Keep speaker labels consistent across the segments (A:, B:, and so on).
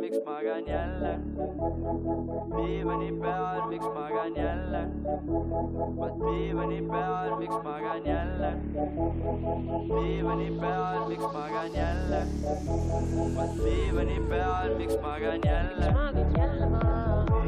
A: miks magan jälle diivani peal , miks magan jälle , vot diivani peal , miks magan jälle , diivani peal , miks magan jälle , vot diivani peal , miks magan jälle .
B: maagid jälle maha .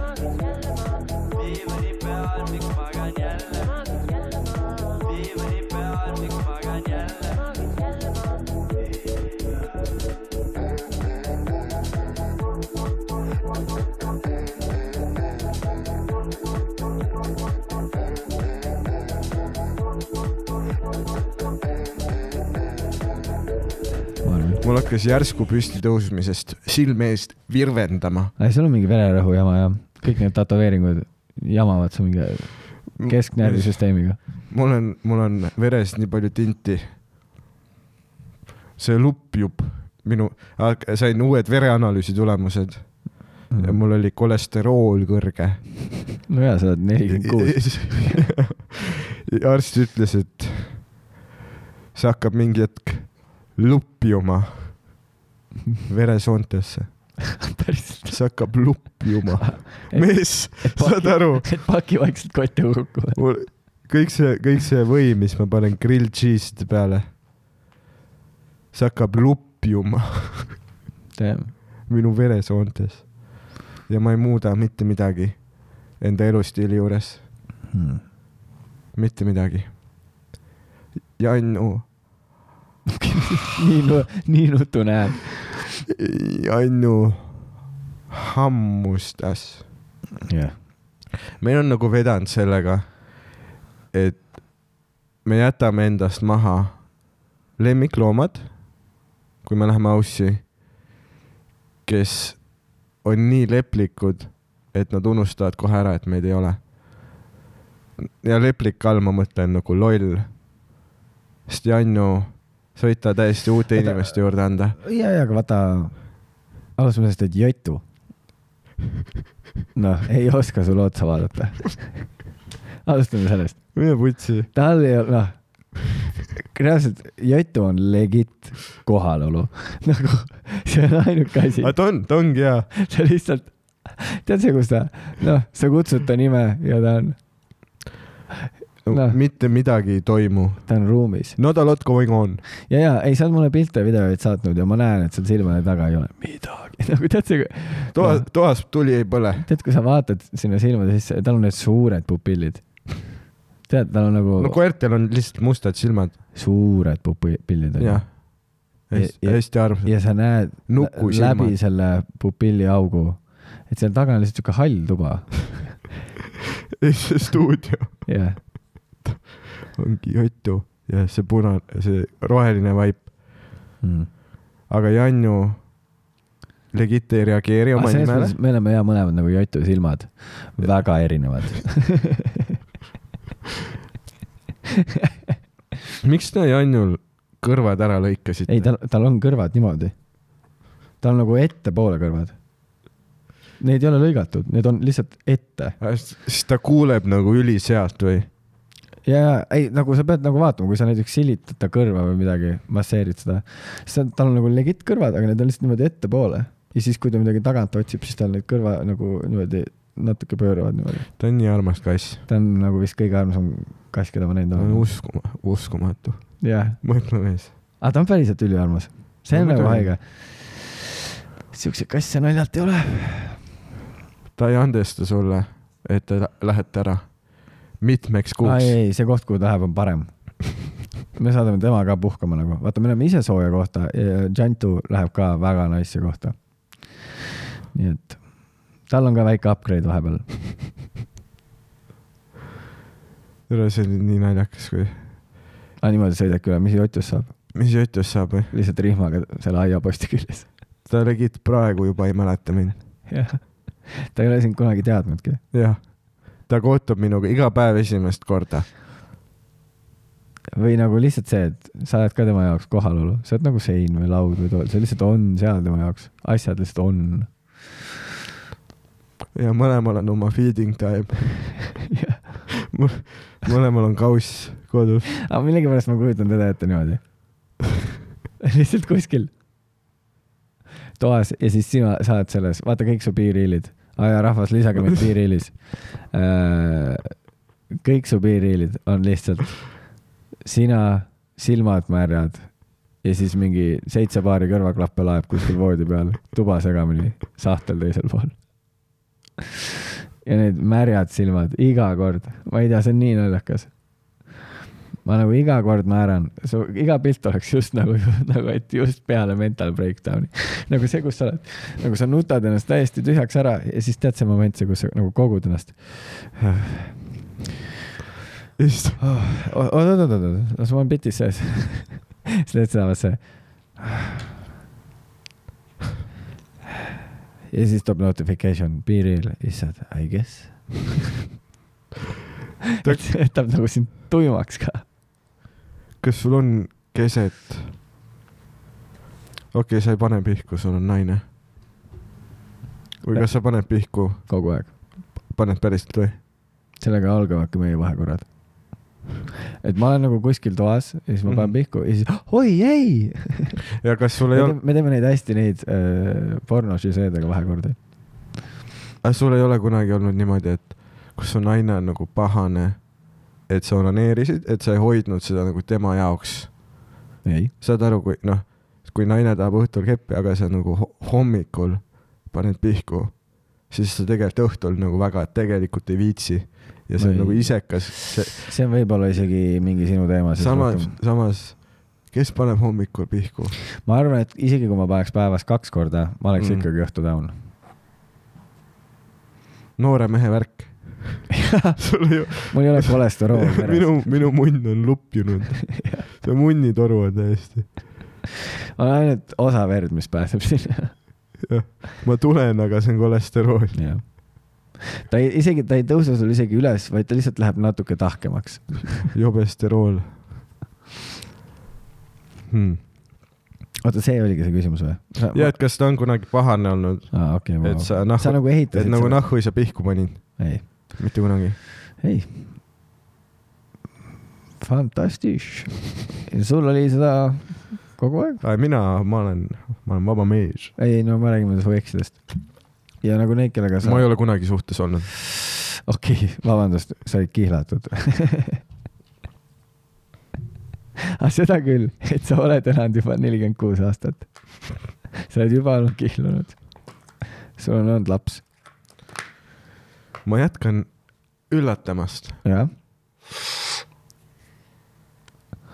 B: maagid jälle maha .
A: diivani peal , miks magan jälle ,
B: maagid jälle maha .
A: diivani peal , miks magan jälle .
B: maagid jälle maha .
C: mul hakkas järsku püsti tõusmisest silme eest virvendama .
D: ei , sul on mingi vererõhu jama jah , kõik need tätoveeringud jamavad su mingi kesknärvisüsteemiga .
C: mul on , mul on veres nii palju tinti . see lupjub minu , sain uued vereanalüüsi tulemused ja
D: no
C: mul oli kolesterool kõrge .
D: Mm. jaa , sa oled nelikümmend kuus .
C: arst ütles , et see hakkab mingi hetk lupjuma veresoontesse ,
D: päriselt .
C: see hakkab lupjuma . mees , saad aru ,
D: Noh. et paki vaikselt kotti hukku või ?
C: mul kõik see , kõik see võim , mis ma panen grill cheese'ide peale , see hakkab lupjuma minu veresoontes ja ma ei muuda mitte midagi enda elustiili juures ,
D: Hmm.
C: Hmm. mitte midagi . Jannu ,
D: nii nu- , nii nutune hääl .
C: Jannu hammustas
D: jah .
C: meil on nagu vedanud sellega , et me jätame endast maha lemmikloomad , kui me läheme aussi , kes on nii leplikud , et nad unustavad kohe ära , et meid ei ole . ja leplik all ma mõtlen nagu loll . sest Jannu , sa võid ta täiesti uute
D: Oota.
C: inimeste juurde anda .
D: ja , ja , aga vaata , alustame sellest , et jotu . noh , ei oska sulle otsa vaadata . alustame sellest ,
C: mine putsi .
D: tal ei ole , noh , reaalselt jotu on legit kohalolu , nagu see on ainuke asi
C: aga , ta on , ta ongi hea .
D: ta lihtsalt , tead see , kus ta , noh , sa kutsud ta nime ja ta on , Noh.
C: mitte midagi ei toimu .
D: ta on ruumis
C: Not a lot going on .
D: ja , ja ei , sa oled mulle pilte ja videoid saatnud ja ma näen , et seal silmade taga ei ole midagi , nagu tead see ,
C: toas , toas tuli ei põle
D: tead , kui sa vaatad sinna silmade sisse , tal on need suured pupillid . tead , tal on nagu
C: no
D: no,
C: koertel on lihtsalt mustad silmad ,
D: suured pupillid on ju
C: jah .
D: Ja- ja-
C: hästi armsad .
D: ja sa näed
C: Nuku
D: lä-
C: silmad.
D: läbi selle pupilliaugu , et seal taga on lihtsalt siuke hall tuba ,
C: see stuudio
D: jah .
C: ongi Jutu ja see punane , see roheline vaip ,
D: Mm.
C: aga Janju legit ei reageeri oma
D: selles
C: nimele
D: mõttes . me oleme ja mõlemad nagu Jotu silmad , väga erinevad .
C: miks te Janjul kõrvad ära lõikasite
D: ei ,? tal , tal on kõrvad niimoodi . tal on nagu ettepoole kõrvad . Neid ei ole lõigatud , need on lihtsalt ette
C: Äh, siis ta kuuleb nagu ülisealt või ?
D: ja , ja ei , nagu sa pead nagu vaatama , kui sa näiteks silitad ta kõrva või midagi , masseerid seda , siis ta- tal on nagu legit kõrvad , aga need on lihtsalt niimoodi ettepoole ja siis , kui ta midagi tagant otsib , siis tal need kõrva nagu niimoodi natuke pööravad niimoodi .
C: ta on nii armas kass .
D: ta on nagu vist kõige armsam kass , keda ma näinud
C: ta on
D: olen .
C: uskuma- , uskumatu .
D: jah ,
C: mõtle mees .
D: aga ta on päriselt üliarmas , see on
C: No
D: nagu
C: muidugi.
D: haige . siukseid kasse naljalt ei ole .
C: ta ei andesta sulle , et te lä- lähete ära mitmeks kuuks .
D: ei , see koht , kuhu ta läheb , on parem . me saadame tema ka puhkama nagu , vaata , me oleme ise sooja kohta ja Jantu läheb ka väga nice'i kohta . nii et tal on ka väike upgrade vahepeal .
C: tere , see oli nii naljakas , kui ,
D: aga niimoodi sõidabki üle , mis Jotus saab ,
C: mis Jutust saab või ?
D: lihtsalt rihmaga selle aiaposti küljes .
C: ta legit praegu juba ei mäleta mind .
D: jah , ta ei ole sind kunagi teadnudki .
C: jah , ta kohtub minuga iga päev esimest korda .
D: või nagu lihtsalt see , et sa oled ka tema jaoks kohalolu , sa oled nagu sein või laud või tool , sa lihtsalt on seal tema jaoks , asjad lihtsalt on .
C: ja mõlemal on oma feeding time . mõlemal on kauss kodus .
D: aga millegipärast ma kujutan teda ette niimoodi . lihtsalt kuskil toas ja siis sina , sa oled selles , vaata kõik su piiriilid , aja rahvas , lisage meid piiriilis . kõik su piiriilid on lihtsalt sina , silmad märjad ja siis mingi seitse paari kõrvaklappe laeb kuskil voodi peal , tuba segamini , sahtel teisel pool . ja need märjad silmad iga kord , ma ei tea , see on nii naljakas . ma nagu iga kord naeran , su iga pilt oleks just nagu , nagu et just peale mental breakdown'i , nagu see , kus sa oled , nagu sa nutad ennast täiesti tühjaks ära ja siis tead see moment , see , kus sa nagu kogud ennast .
C: ja siis ta ,
D: Oh, oot , oot , oot , oot , las ma olen bitis sees . siis teed seda , vaat see . ja siis tuleb notification piiril , issand , I guess .
C: Ta-
D: et see jätab nagu sind tuimaks ka .
C: kas sul on keset ? okei okay, , sa ei pane pihku , sul on naine . või kas sa paned pihku ,
D: kogu aeg .
C: paned päriselt või ?
D: sellega algavadki meie vahekorrad . et ma olen nagu kuskil toas ja siis ma panen
C: Mhm.
D: pihku ja siis oi ei .
C: ja kas sul
D: me
C: ei olnud ,
D: teeme- me teeme neid hästi neid äh, pornožüseedega vahekordi .
C: Äh, sul ei ole kunagi olnud niimoodi , et kus su naine on nagu pahane , et sa onaneerisid , et sa ei hoidnud seda nagu tema jaoks
D: ei .
C: saad aru , kui noh , kui naine tahab õhtul keppi , aga sa nagu ho- hommikul paned pihku , siis sa tegelikult õhtul nagu väga tegelikult ei viitsi ja see on
D: Või-
C: nagu isekas .
D: see on võib-olla isegi mingi sinu teema .
C: samas , samas , kes paneb hommikul pihku ?
D: ma arvan , et isegi kui ma paneks päevas kaks korda , ma oleks mm.
C: Mm.
D: ikkagi õhtu down .
C: noore mehe värk . sul ei
D: mul ei ole kolesterool
C: ole ,
D: meres
C: minu , minu munn on lupjunud . see munnitoru on täiesti ,
D: on ainult osa verd , mis pääseb sinna .
C: ma tulen , aga see on kolesterool .
D: ta ei, isegi , ta ei tõuse sul isegi üles , vaid ta lihtsalt läheb natuke tahkemaks .
C: jobesterool hmm. .
D: oota , see oligi see küsimus või ?
C: ja , et kas ta on kunagi pahane olnud ,
D: aa , okei ,
C: et
D: sa,
C: sa noh ,
D: sa nagu
C: et
D: ehitasid
C: nagu . noh- nahhu ei saa pihku panin ,
D: ei ,
C: mitte kunagi .
D: ei . Fantastisch . sul oli seda kogu aeg ?
C: mina , ma olen , ma olen vaba mees .
D: ei , no me räägime su eksidest . ja nagu need , kellega sa
C: ma ei ole kunagi suhtes olnud .
D: okei okay, , vabandust , sa olid kihlatud . aga Ah, seda küll , et sa oled elanud juba nelikümmend kuus aastat . sa oled juba olnud kihlunud . sul on olnud laps .
C: ma jätkan üllatamast .
D: jah ,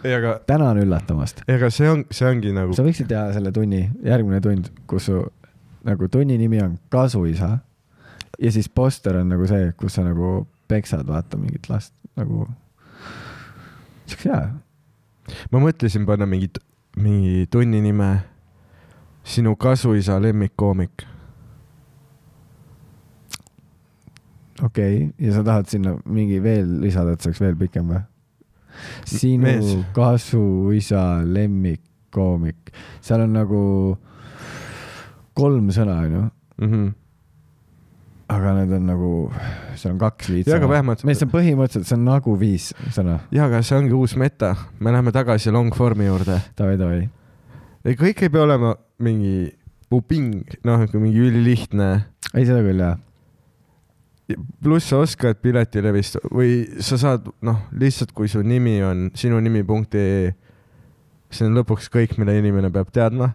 C: ei , aga ,
D: tänan üllatamast .
C: ei , aga see on , see ongi nagu
D: sa võiksid teha selle tunni , järgmine tund , kus su nagu tunni nimi on kasuisa ja siis poster on nagu see , kus sa nagu peksad , vaata mingit last nagu . see oleks hea .
C: ma mõtlesin panna mingit , mingi tunni nime . sinu kasuisa lemmikkoomik .
D: okei okay. , ja sa tahad sinna mingi veel lisada , et see oleks veel pikem või ? sinu
C: mees.
D: kasuisa lemmikkoomik , seal on nagu kolm sõna onju ,
C: Mm -hmm.
D: aga need on nagu , seal on kaks viit
C: ja , aga
D: sõna .
C: vähemalt ,
D: meil see on põhimõtteliselt , see on nagu viis sõna .
C: ja , aga see ongi uus meta . me läheme tagasi long form'i juurde .
D: Davai , davai .
C: ei , kõik ei pea olema mingi puping , noh , mingi ülilihtne
D: ei , seda küll jah .
C: pluss sa oskad piletilevist või sa saad , noh , lihtsalt kui su nimi on sinunimi.ee , see on lõpuks kõik , mida inimene peab teadma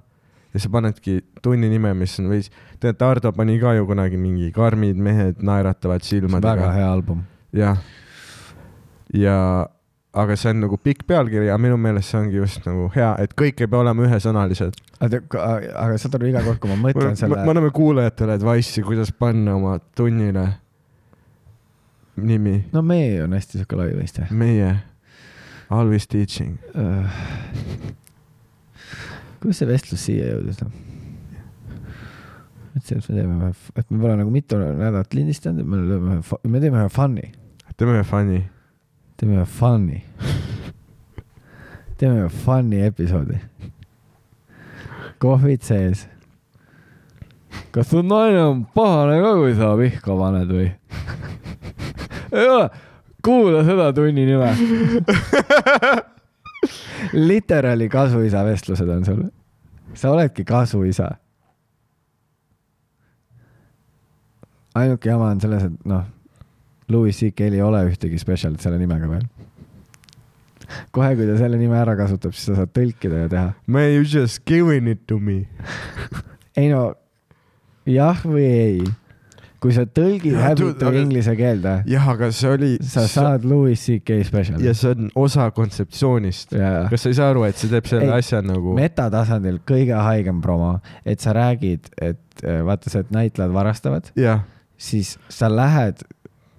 C: ja sa panedki tunni nime , mis on või tead , Ardo pani ka ju kunagi mingi karmid mehed naeratavad
D: väga
C: silmadega .
D: hea album .
C: jah . ja , aga see on nagu pikk pealkiri ja minu meelest see ongi just nagu hea , et kõik ei pea olema ühesõnalised .
D: aga saad aru , iga kord , kui ma
C: me
D: mõtlen selle
C: me anname kuulajatele advice'i , kuidas panna oma tunnile nimi
D: no meie on hästi siuke lai mõiste .
C: meie , always teaching .
D: kuidas see vestlus siia jõudis ? mõtlesin , noh? et me teeme ühe , et me pole nagu mitu nädalat lindistanud , et me lööme ühe , me teeme ühe fun'i ,
C: teeme ühe fun'i .
D: teeme ühe fun'i . teeme ühe fun'i episoodi . kohvid sees . kas su naine on pahane ka , kui sa vihka paned või ? ei ole , kuula seda tunni nime . literaali kasuisa vestlused on sul . sa oledki kasuisa ainuke jama on selles , et noh , Louis CK-l ei ole ühtegi spetsialit selle nimega veel . kohe , kui ta selle nime ära kasutab , siis sa saad tõlkida ja teha .
C: Man you just giving it to me .
D: ei no , jah või ei . kui sa tõlgid
C: Jaa, dude,
D: häbitav
C: aga-
D: inglise keelde ,
C: jah , aga see oli .
D: sa saad Louis CK spetsiali
C: ja . see on osa kontseptsioonist .
D: jaa .
C: kas sa ei saa aru , et see teeb selle
D: Ei,
C: ei, asja nagu met... ,
D: metatasandil kõige haigem promo , et sa räägid , et eh, vaata see , et näitlejad varastavad ,
C: jah
D: siis sa lähed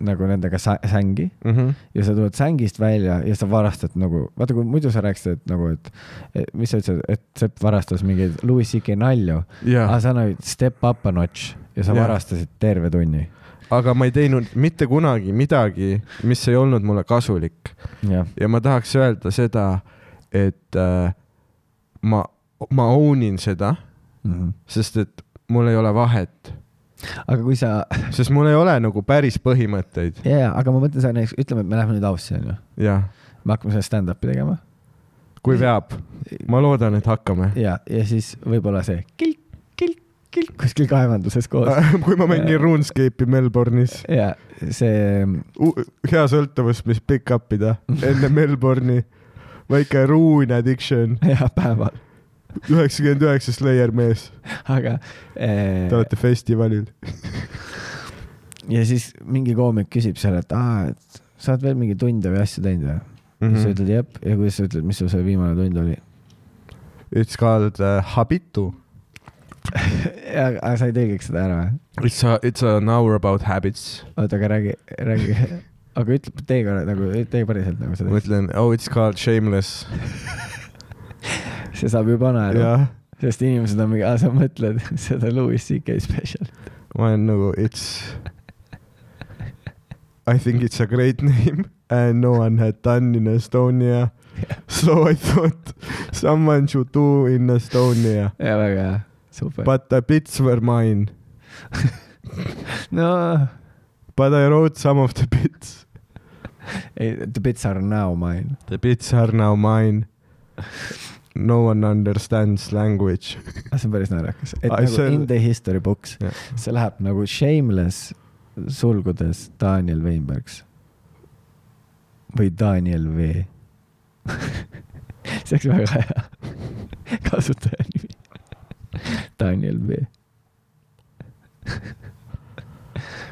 D: nagu nendega sa- sängi
C: mm -hmm. .
D: ja sa tuled sängist välja ja sa varastad nagu , vaata kui muidu sa rääkisid , et nagu , et , et mis sa ütlesid , et Sepp varastas mingeid Louis CK nalju , aga
C: jaa ,
D: sa nüüd step up a notch ja sa
C: Jah.
D: varastasid terve tunni .
C: aga ma ei teinud mitte kunagi midagi , mis ei olnud mulle kasulik
D: jah ,
C: ja ma tahaks öelda seda , et äh, ma , ma own in seda , sest et mul ei ole vahet ,
D: Mhm. aga kui sa ,
C: sest mul ei ole nagu päris põhimõtteid
D: ja , ja , aga ma mõtlen , sa näiteks , ütleme , et me läheme nüüd ausse , onju ,
C: ja
D: me hakkame seda stand-up'i tegema
C: kui veab , ma loodan , et hakkame .
D: ja , ja siis võib-olla see kilk , kilk , kilk kuskil kaevanduses koos
C: kui ma mängin RuneScape'i Melbourne'is ,
D: ja see
C: hea sõltuvus , mis pick up ida enne Melbourne'i , väike ruune addiction ,
D: ja päeval ,
C: üheksakümmend üheksa Slayer mees ,
D: aga eh,
C: te olete festivalil .
D: ja siis mingi koomik küsib seal , et aa , et sa oled veel mingi tunde või asju teinud või
C: Mhm.
D: mm ? -hmm. siis sa ütled jep ja kuidas sa ütled , mis sul see viimane tund oli ?
C: It's called uh, habitu .
D: aga sa ei tõlgiks seda ära või ?
C: It's a , it's an hour about habits .
D: oota , aga räägi , räägi , aga ütle tee korra nagu , tee päriselt nagu
C: ma
D: seda .
C: ütlen , oh it's called shameless .
D: see saab juba naeru ,
C: jah ,
D: sest inimesed on mingi , aa sa mõtled seda Louis CK special .
C: ma olen nagu it's . I think it's a great name and no one had done in Estonia . So I thought someone should do in Estonia .
D: ja väga hea , super .
C: But the bits were mine .
D: no
C: But I wrote some of the bits .
D: ei , the bits are now mine .
C: The bits are now mine . No one understands language .
D: Ah, see on päris naljakas , et
C: Ai,
D: nagu
C: Ah, see-
D: in the history books
C: Jah.
D: see läheb nagu shameless sulgudes Daniel Weinbergs või Daniel V . see oleks väga hea kasutajanimi . Daniel V .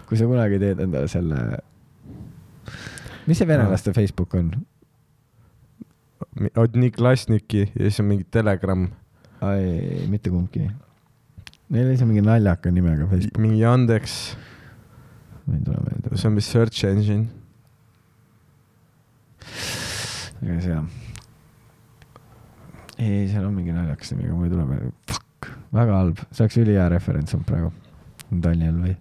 D: kui sa kunagi teed endale selle , mis see venelaste
C: Ah.
D: Facebook on ?
C: Odnik Lasniki ja siis on mingi Telegram
D: ei , mitte kumbki . Neil oli seal mingi naljaka nimega Facebook ,
C: mingi andeks ,
D: ma ei tule meelde .
C: see on vist search engine .
D: aga see jah . ei , ei seal on mingi naljakas nimi , aga mul ei tule meelde . Fuck , väga halb , see oleks ülihea referents olnud praegu . Daniel või ?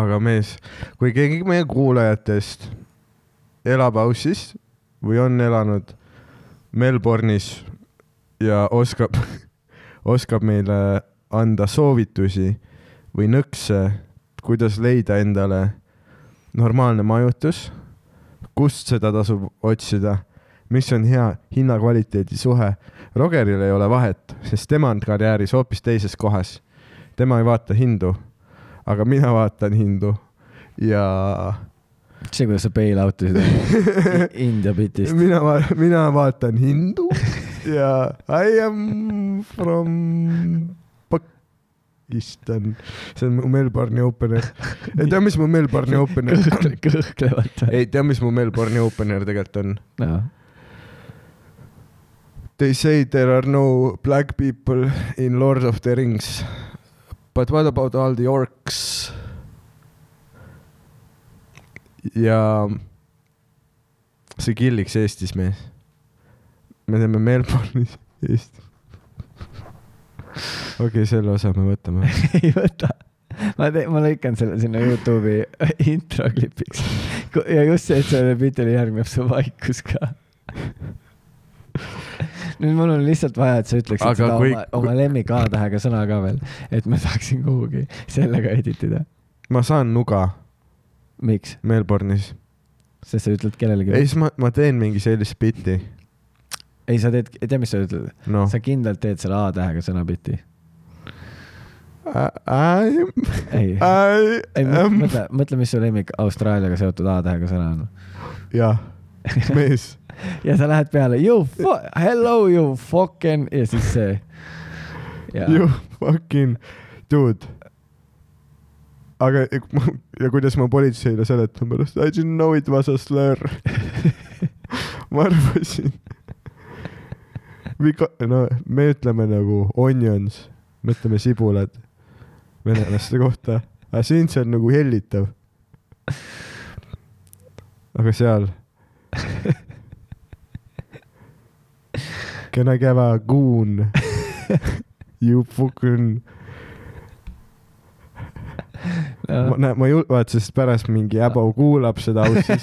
C: aga mees , kui keegi meie kuulajatest elab Aussis või on elanud Melbourne'is ja oskab , oskab meile anda soovitusi või nõkse , kuidas leida endale normaalne majutus , kust seda tasub otsida , mis on hea hinna-kvaliteedi suhe . Rogeril ei ole vahet , sest tema on karjääris hoopis teises kohas . tema ei vaata hindu , aga mina vaatan hindu ja
D: see , kuidas sa bail out isid India bitist .
C: mina , mina vaatan hindu ja I am from Pakistan . see on mu Melbourne'i opener . ei tea , mis mu Melbourne'i opener
D: kõhkle , kõhklevad .
C: ei tea , mis mu Melbourne'i opener tegelikult on .
D: noh ,
C: They say there are no black people in Lord of the Rings . But what about all the orcs ? ja see killiks Eestis , mees . me teeme Melbourne'is Eestis . okei , selle osa me võtame .
D: ei võta . ma teen , ma lõikan selle sinna Youtube'i intro klipiks . ja just see , et sellele pildile järgneb su vaikus ka . nüüd mul on lihtsalt vaja , et sa ütleksid
C: Aga
D: seda
C: kui-
D: oma, oma lemmik A-tähega sõna ka veel , et ma saaksin kuhugi sellega edit ida .
C: ma saan nuga
D: miks ?
C: Melbourne'is .
D: sest sa ütled kellelegi .
C: ei , siis ma , ma teen mingi sellist bitti .
D: ei , sa teed , tea , mis sa ütled no. ?
C: noh
D: sa . kindlalt teed selle A-tähega sõna biti .
C: I am ,
D: ei ,
C: I
D: ei
C: am ,
D: mõtle , mõtle , mis su lemmik Austraaliaga seotud A-tähega sõna on .
C: jah , mees .
D: ja sa lähed peale you fu- , hello you fucking ja siis see .
C: You fucking dude . aga ja ku- ma- ja kuidas ma politseile seletan pärast , I didn't know it was a slur . ma arvasin . Vika- , no me ütleme nagu onions , me ütleme sibulad venelaste kohta , aga siin see on nagu hellitav . aga seal . Can I give a goon ? You fucking ,
D: Äh.
C: ma näen , ma ei julge , vaata , sest pärast mingi äbo kuulab seda ausis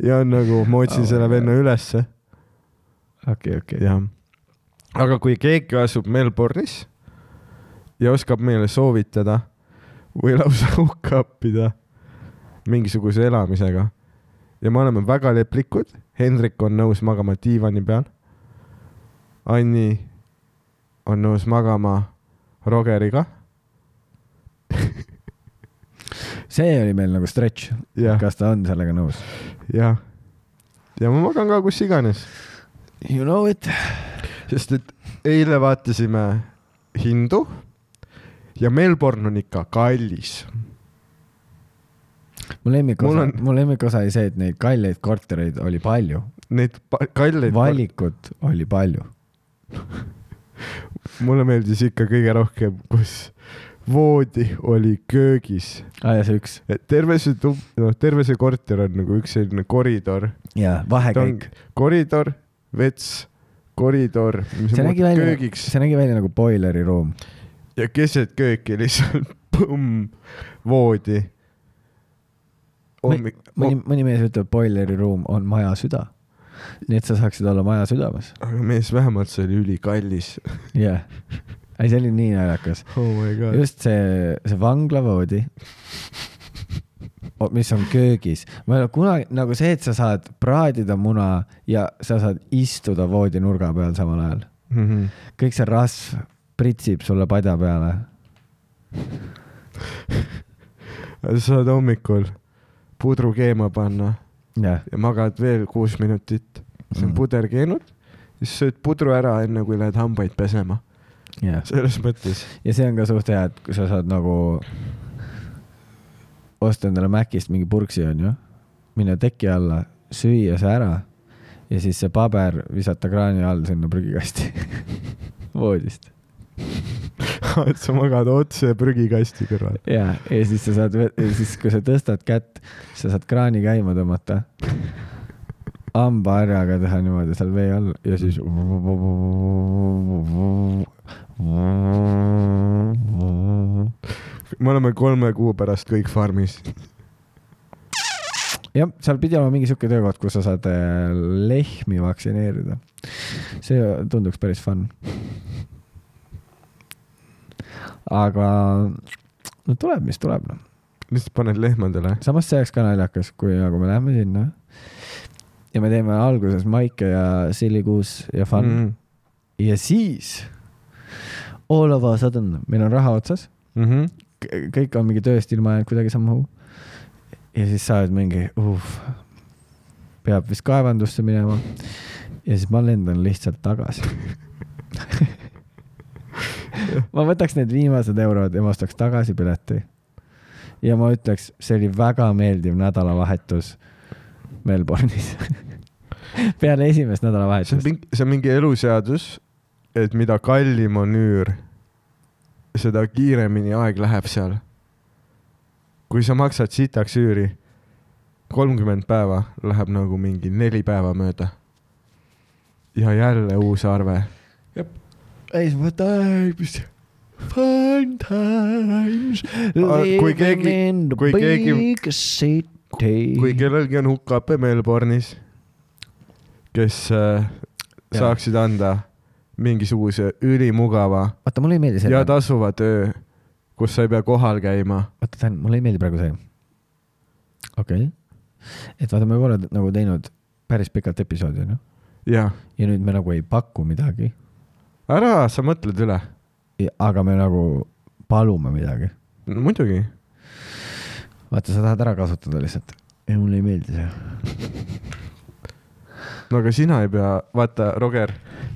C: ja on nagu , ma otsin oh,
D: Oh my
C: selle
D: God.
C: venna ülesse ,
D: okei , okei .
C: jah . aga kui keegi asub Melbourne'is ja oskab meile soovitada või lausa hukka appida mingisuguse elamisega ja me oleme väga leplikud , Hendrik on nõus magama diivani peal . Anni on nõus magama Rogeriga ,
D: see oli meil nagu stretch ,
C: jah .
D: kas ta on sellega nõus ?
C: jah . ja ma magan ka kus iganes ,
D: You know it .
C: sest et eile vaatasime hindu ja Melbourne on ikka kallis .
D: mu lemmikosa
C: Mul on-
D: on... , mu lemmikosa oli see , et neid kalleid kortereid oli palju ,
C: Neid pa- kalleid ,
D: valikut oli palju .
C: mulle meeldis ikka kõige rohkem , kus voodi oli köögis ,
D: aa Ah, ja see üks
C: et terve see tu- , noh , terve see korter on nagu üks selline koridor ,
D: ja
C: ta on
D: vahekäik .
C: koridor , vets , koridor , mis
D: see
C: on
D: nägi
C: muutub
D: välja ,
C: köögiks
D: see nägi välja nagu boileri ruum .
C: ja keset kööki lihtsalt põmm , voodi . hommik ,
D: mõni , mõni mees ütleb , boileri ruum on maja süda . nii et sa saaksid olla maja südames .
C: aga mees , vähemalt see oli ülikallis .
D: jah . ei , see oli nii naljakas .
C: oh my god .
D: just see , see vanglavoodi , mis on köögis . ma ei ole kunagi , nagu see , et sa saad praadida muna ja sa saad istuda voodinurga peal samal ajal .
C: Mm -hmm.
D: kõik see rasv pritsib sulle padja peale .
C: sa saad hommikul pudru keema panna
D: jah ,
C: ja magad veel kuus minutit , siis on
D: Mm.
C: puder keenud , siis sööd pudru ära , enne kui lähed hambaid pesema .
D: jah .
C: selles mõttes ,
D: ja see on ka suht hea , et kui sa saad nagu osta endale Macist mingi purksi , onju , minna teki alla , süüa see ära ja siis see paber visata kraani all sinna prügikasti voodist .
C: et sa magad otse prügikasti kõrval .
D: ja , ja siis sa saad , siis kui sa tõstad kätt , sa saad kraani käima tõmmata , hambaharjaga teha niimoodi seal vee all ja siis .
C: me oleme kolme kuu pärast kõik farmis .
D: jah , seal pidi olema mingi sihuke töökoht , kus sa saad äh, lehmi vaktsineerida . see tunduks päris fun . aga no tuleb , mis tuleb noh .
C: lihtsalt paned lehmadele .
D: samas see oleks ka naljakas , kui nagu me läheme sinna ja me teeme alguses Maike ja Silli Kuus ja fun mm . -hmm. ja siis all of a sudden meil on raha otsas ,
C: mm . -hmm.
D: kõik on mingi tööst ilma jäänud kuidagi sammu . ja siis sa oled mingi uh, , peab vist kaevandusse minema . ja siis ma lendan lihtsalt tagasi . ma võtaks need viimased eurod ja ma ostaks tagasi pileti . ja ma ütleks , see oli väga meeldiv nädalavahetus Melbourne'is . peale esimest
C: see on
D: nädalavahetust .
C: mingi , see on mingi eluseadus , et mida kallim on üür , seda kiiremini aeg läheb seal . kui sa maksad sitaks üüri , kolmkümmend päeva läheb nagu mingi neli päeva mööda . ja jälle uus arve .
D: ei , siis ma mõtlen , mis see . Fun times .
C: Kui keegi- kui keegi- kui
D: keegi .
C: kellelgi on UKP Melbourne'is , kes äh,
D: Jaa.
C: saaksid anda mingisuguse ülimugava
D: vaata , mulle ei meeldi see
C: ja . tasuva töö , kus sa ei pea kohal käima .
D: oota , Dan , mulle ei meeldi praegu see . okei okay. . et vaata , me pole nagu teinud päris pikalt episoodi , noh .
C: jah ,
D: ja nüüd me nagu ei paku midagi ,
C: ära , sa mõtled üle .
D: aga me nagu palume midagi .
C: muidugi ,
D: vaata , sa tahad ära kasutada lihtsalt . ei , mulle ei meeldi see .
C: no aga sina ei pea , vaata , Roger ,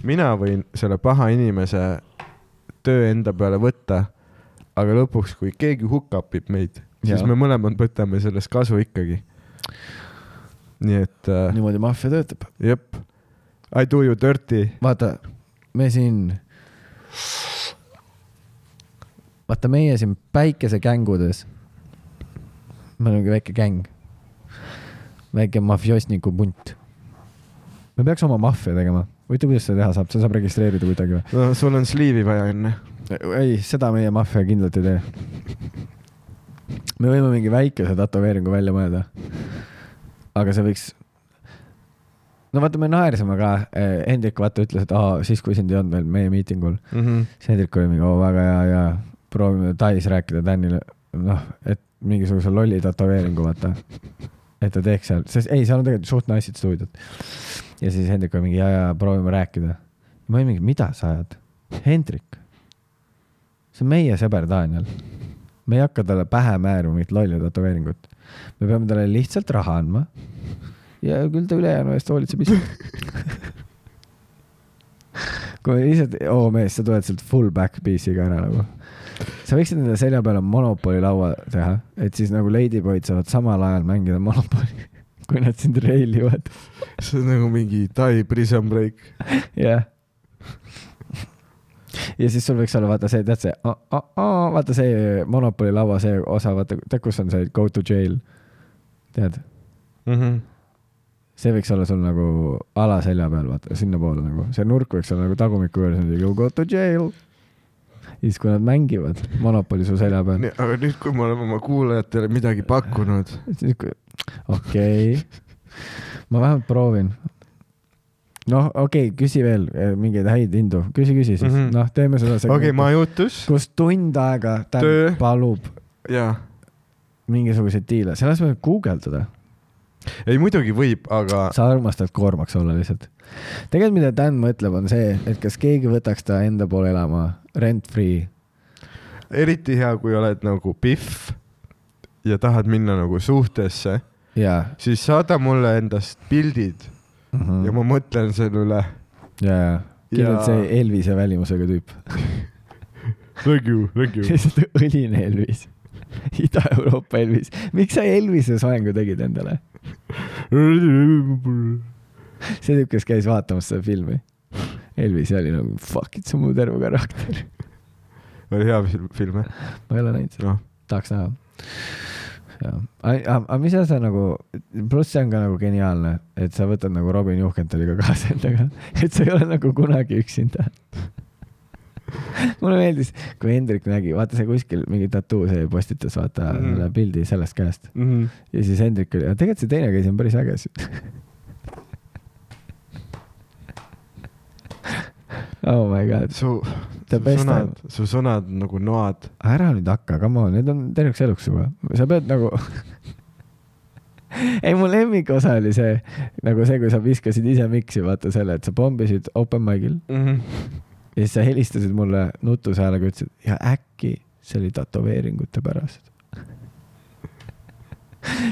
C: mina võin selle paha inimese töö enda peale võtta , aga lõpuks , kui keegi hukkapib meid , siis
D: Jaa.
C: me mõlemad võtame sellest kasu ikkagi . nii et äh,
D: niimoodi maffia töötab .
C: jep , I do you dirty .
D: vaata , me siin , vaata meie siin päikesegängudes , me oleme väike gäng , väike mafiosniku punt . me peaks oma maffia tegema , huvitav , kuidas seda teha saab , seda saab registreerida kuidagi või ?
C: no sul on sliivi vaja enne .
D: ei , seda meie maffia kindlalt ei tee . me võime mingi väikese tätoveeringu välja mõelda . aga see võiks . no vaata , me naersime ka . Hendrik vaata ütles , et aa , siis kui sind ei olnud veel meie miitingul , siis Hendrik oli mingi oo väga hea ja proovime Tais rääkida Danile , noh , et mingisuguse lolli tätoveeringu vaata , et ta teeks seal , sest ei , seal on tegelikult suht naised stuudiod . ja siis Hendrik oli mingi ja , ja proovime rääkida . ma olin mingi , mida sa ajad ? Hendrik , see on meie sõber Daniel . me ei hakka talle pähe määrima mingit lolli tätoveeringut . me peame talle lihtsalt raha andma . ja küll ta ülejäänu eest hoolitseb ise . kui lihtsalt , oo mees , sa tuled sealt full back piece'iga ära nagu . sa võiksid enda selja peale monopoli laua teha , et siis nagu Ladyboy'd saavad samal ajal mängida monopoli , kui nad sind reilivad .
C: see on nagu mingi Tai prison break .
D: jah . ja siis sul võiks olla vaata see , tead see , vaata see Monopoli laua see osa , vaata , tead kus on see go to jail , tead , see võiks olla sul nagu alaselja peal , vaata sinnapoole nagu , see nurk võiks olla nagu tagumiku juures , you go to jail . ja siis , kui nad mängivad Monopoli su selja peal ,
C: aga nüüd , kui me oleme oma kuulajatele midagi pakkunud ,
D: siis kui , okei okay. , ma vähemalt proovin noh , okei okay, , küsi veel eh, mingeid häid hindu , küsi , küsi siis mm
C: Mhm.
D: -hmm. , noh , teeme seda .
C: okei okay, , majutus
D: kus tund aega ta
C: Töö.
D: palub
C: ja
D: mingisuguseid diile , selles mõttes guugeldada ,
C: ei muidugi võib , aga
D: sa armastad koormaks olla lihtsalt . tegelikult , mida Dan mõtleb , on see , et kas keegi võtaks ta enda poole elama rent free .
C: eriti hea , kui oled nagu pihv ja tahad minna nagu suhtesse ,
D: jaa .
C: siis saada mulle endast pildid
D: Mm.
C: ja ma mõtlen selle üle .
D: jaa , kindlalt
C: Ja-
D: see Elvise välimusega tüüp ,
C: Thank you , thank you .
D: lihtsalt õline Elvis . Ida-Euroopa Elvis , miks sa Elvise soengu tegid endale ? see tüüp , kes käis vaatamas seda filmi . Elvis oli nagu fuck it , see on mu terve karakter .
C: oli hea film , film jah ?
D: ma ei ole näinud seda .
C: noh ,
D: tahaks näha . aga mis asja nagu , pluss see on ka nagu geniaalne , et sa võtad nagu Robin Juhkentaliga kaasa endaga , et sa ei ole nagu kunagi üksinda . mulle meeldis , kui Hendrik nägi , vaata see kuskil mingi tattoo see postitas , vaata
C: Mhm.
D: mm. pildi sellest käest ja siis Hendrik oli , tegelikult see teine käis on päris äge siis oh my god ,
C: su ,
D: The
C: su
D: best
C: sõnad , su sõnad nagu noad .
D: ära nüüd hakka , come on , need on terveks eluks juba , sa pead nagu . ei , mu lemmikosa oli see nagu see , kui sa viskasid ise miksi , vaata selle , et sa pommisid open mic'il ja siis sa helistasid mulle nutuse häälega , ütlesid ja äkki see oli tätoveeringute pärast .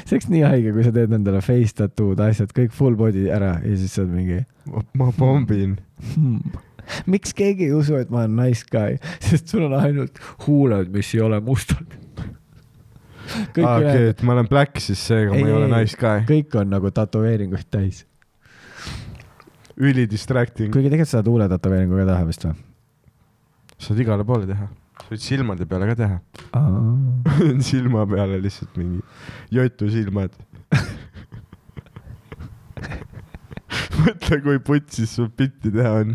D: see oleks nii haige , kui sa teed endale face tattoo'd , asjad kõik full body ära ja siis sa oled mingi
C: ma pombin .
D: hmm. . miks keegi ei usu , et ma olen nice guy , sest sul on ainult huuled , mis ei ole mustad . kõik
C: aa , okei ,
D: ülejäänud ,
C: et ma olen black , siis seega ma
D: Ei,
C: ei ole
D: ei,
C: nice guy .
D: kõik on nagu tätoveeringuid täis .
C: üli distracting .
D: kuigi tegelikult sa saad huule tätoveeringu ka teha vist või ?
C: saad igale poole teha . sa võid silmade peale ka teha . silma peale lihtsalt mingi jotu silmad . mõtle , kui putsis sul pitti teha on .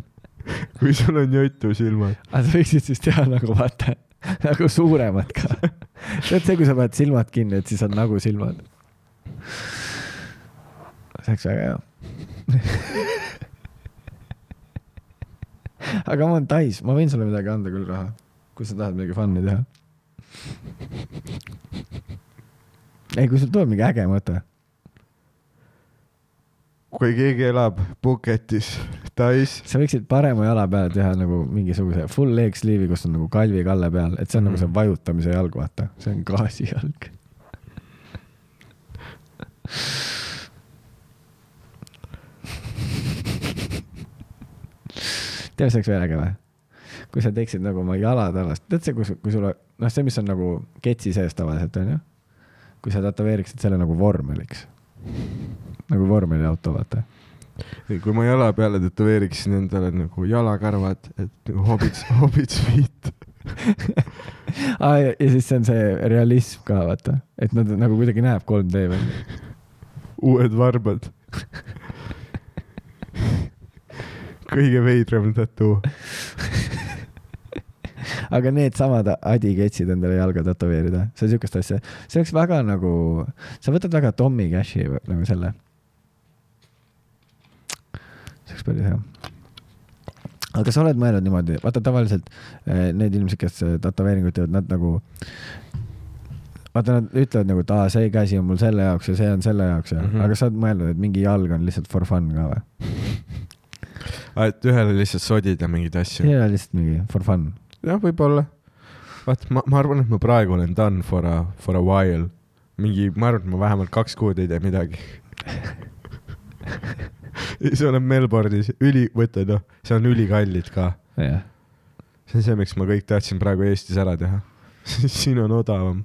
C: kui sul on jutu silmad .
D: aga sa võiksid siis teha nagu vaata , nagu suuremad ka . tead see , kui sa paned silmad kinni , et siis on nagu silmad . see oleks väga hea . aga ma olen Tais , ma võin sulle midagi anda küll raha , kui sa tahad midagi fun'i teha . ei , kui sul tuleb mingi äge mõte ,
C: kui keegi elab Phuketis , Tais ,
D: sa võiksid parema jala peale teha nagu mingisuguse full leg sleeve'i , kus on nagu Kalvi Kalle peal , et see on nagu see vajutamise jalg , vaata , see on gaasijalg . tead , see oleks veel äge või ? kui sa teeksid nagu oma jala tagasi , tead see , kui , kui sul , noh , see , mis on nagu ketsi sees tavaliselt onju , kui sa tätoveeriksid selle nagu vormeliks , nagu vormeliauto , vaata
C: kui ma jala peale tätoveeriksin endale nagu jalakarvad , et nagu hobits , hobits feet .
D: ah, . Ja, ja siis see on see realism ka vaata , et nad nagu kuidagi näeb 3D välja .
C: uued varbad . kõige veidram tattoo .
D: aga needsamad adiketsid endale jalga tätoveerida , see siukest asja , see oleks väga nagu , sa võtad väga Tommy Cashi vä- nagu selle . see oleks päris hea . aga kas sa oled mõelnud niimoodi , vaata tavaliselt eh, need inimesed , kes eh, tätoveeringuid teevad , nad nagu , vaata nad ütlevad nagu , et aa , see käsi on mul selle jaoks ja see on selle jaoks ja mm ,
C: Mhm.
D: -hmm. aga sa oled mõelnud , et mingi jalg on lihtsalt for fun ka või ?
C: et ühele lihtsalt sodid ja mingeid asju .
D: jaa , lihtsalt mingi for fun .
C: jah , võib-olla . vaat ma , ma arvan , et ma praegu olen done for a , for a while . mingi , ma arvan , et ma vähemalt kaks kuud ei tee midagi . siis olen Melbourne'is , üli , võta noh , see on ülikallid ka .
D: jah .
C: see on see , miks ma kõik tahtsin praegu Eestis ära teha . siin on odavam .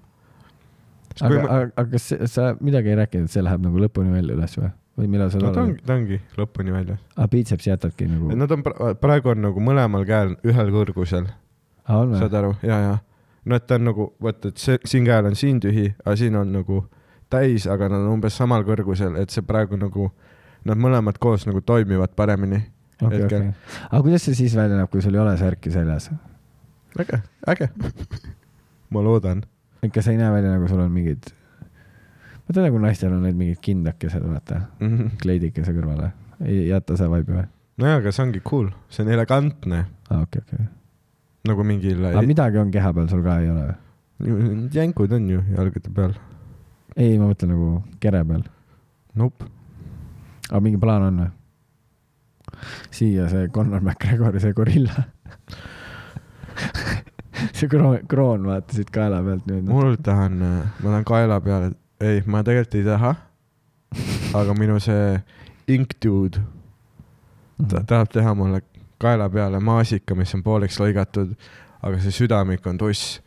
D: aga
C: ma... ,
D: aga , aga kas see- sa midagi ei rääkinud , et see läheb nagu lõpuni välja üles või ? või millal sa
C: no ta
D: oled
C: ongi ,? ta ongi lõpuni välja .
D: aa , piitseps jätadki nagu .
C: Nad on , praegu on nagu mõlemal käel ühel kõrgusel ,
D: aa , Ah, on
C: saad
D: või ?
C: aru , ja , ja . no et ta on nagu , vaata , et see , siin käel on siin tühi , aga siin on nagu täis , aga nad on umbes samal kõrgusel , et see praegu nagu , nad mõlemad koos nagu toimivad paremini .
D: okei ,
C: hetkel.
D: okei . aga kuidas see siis välja näeb , kui sul ei ole särki seljas ?
C: äge , äge . ma loodan .
D: kas ei näe välja nagu sul on mingid , vaata nagu naistel on need mingid kindakesed , vaata ,
C: nojah ,
D: kleidikese kõrvale . ei jäta see vaibi või ?
C: aga see ongi cool , see on elegantne
D: aa , okei , okei .
C: nagu mingil
D: aga midagi on keha peal sul ka ei ole või ?
C: jänkud on ju jalgade peal .
D: ei , ma mõtlen nagu kere peal .
C: Nope ,
D: aga mingi plaan on või ? siia see Conor McGregori , see gorilla . see kroon , kroon vaata siit kaela pealt nüüd .
C: mul tahan , ma tahan kaela peale , ei , ma tegelikult ei taha . aga minu see ink dude
D: Mhm.
C: ta tahab teha mulle kaela peale maasika , mis on pooleks lõigatud , aga see südamik on tuss .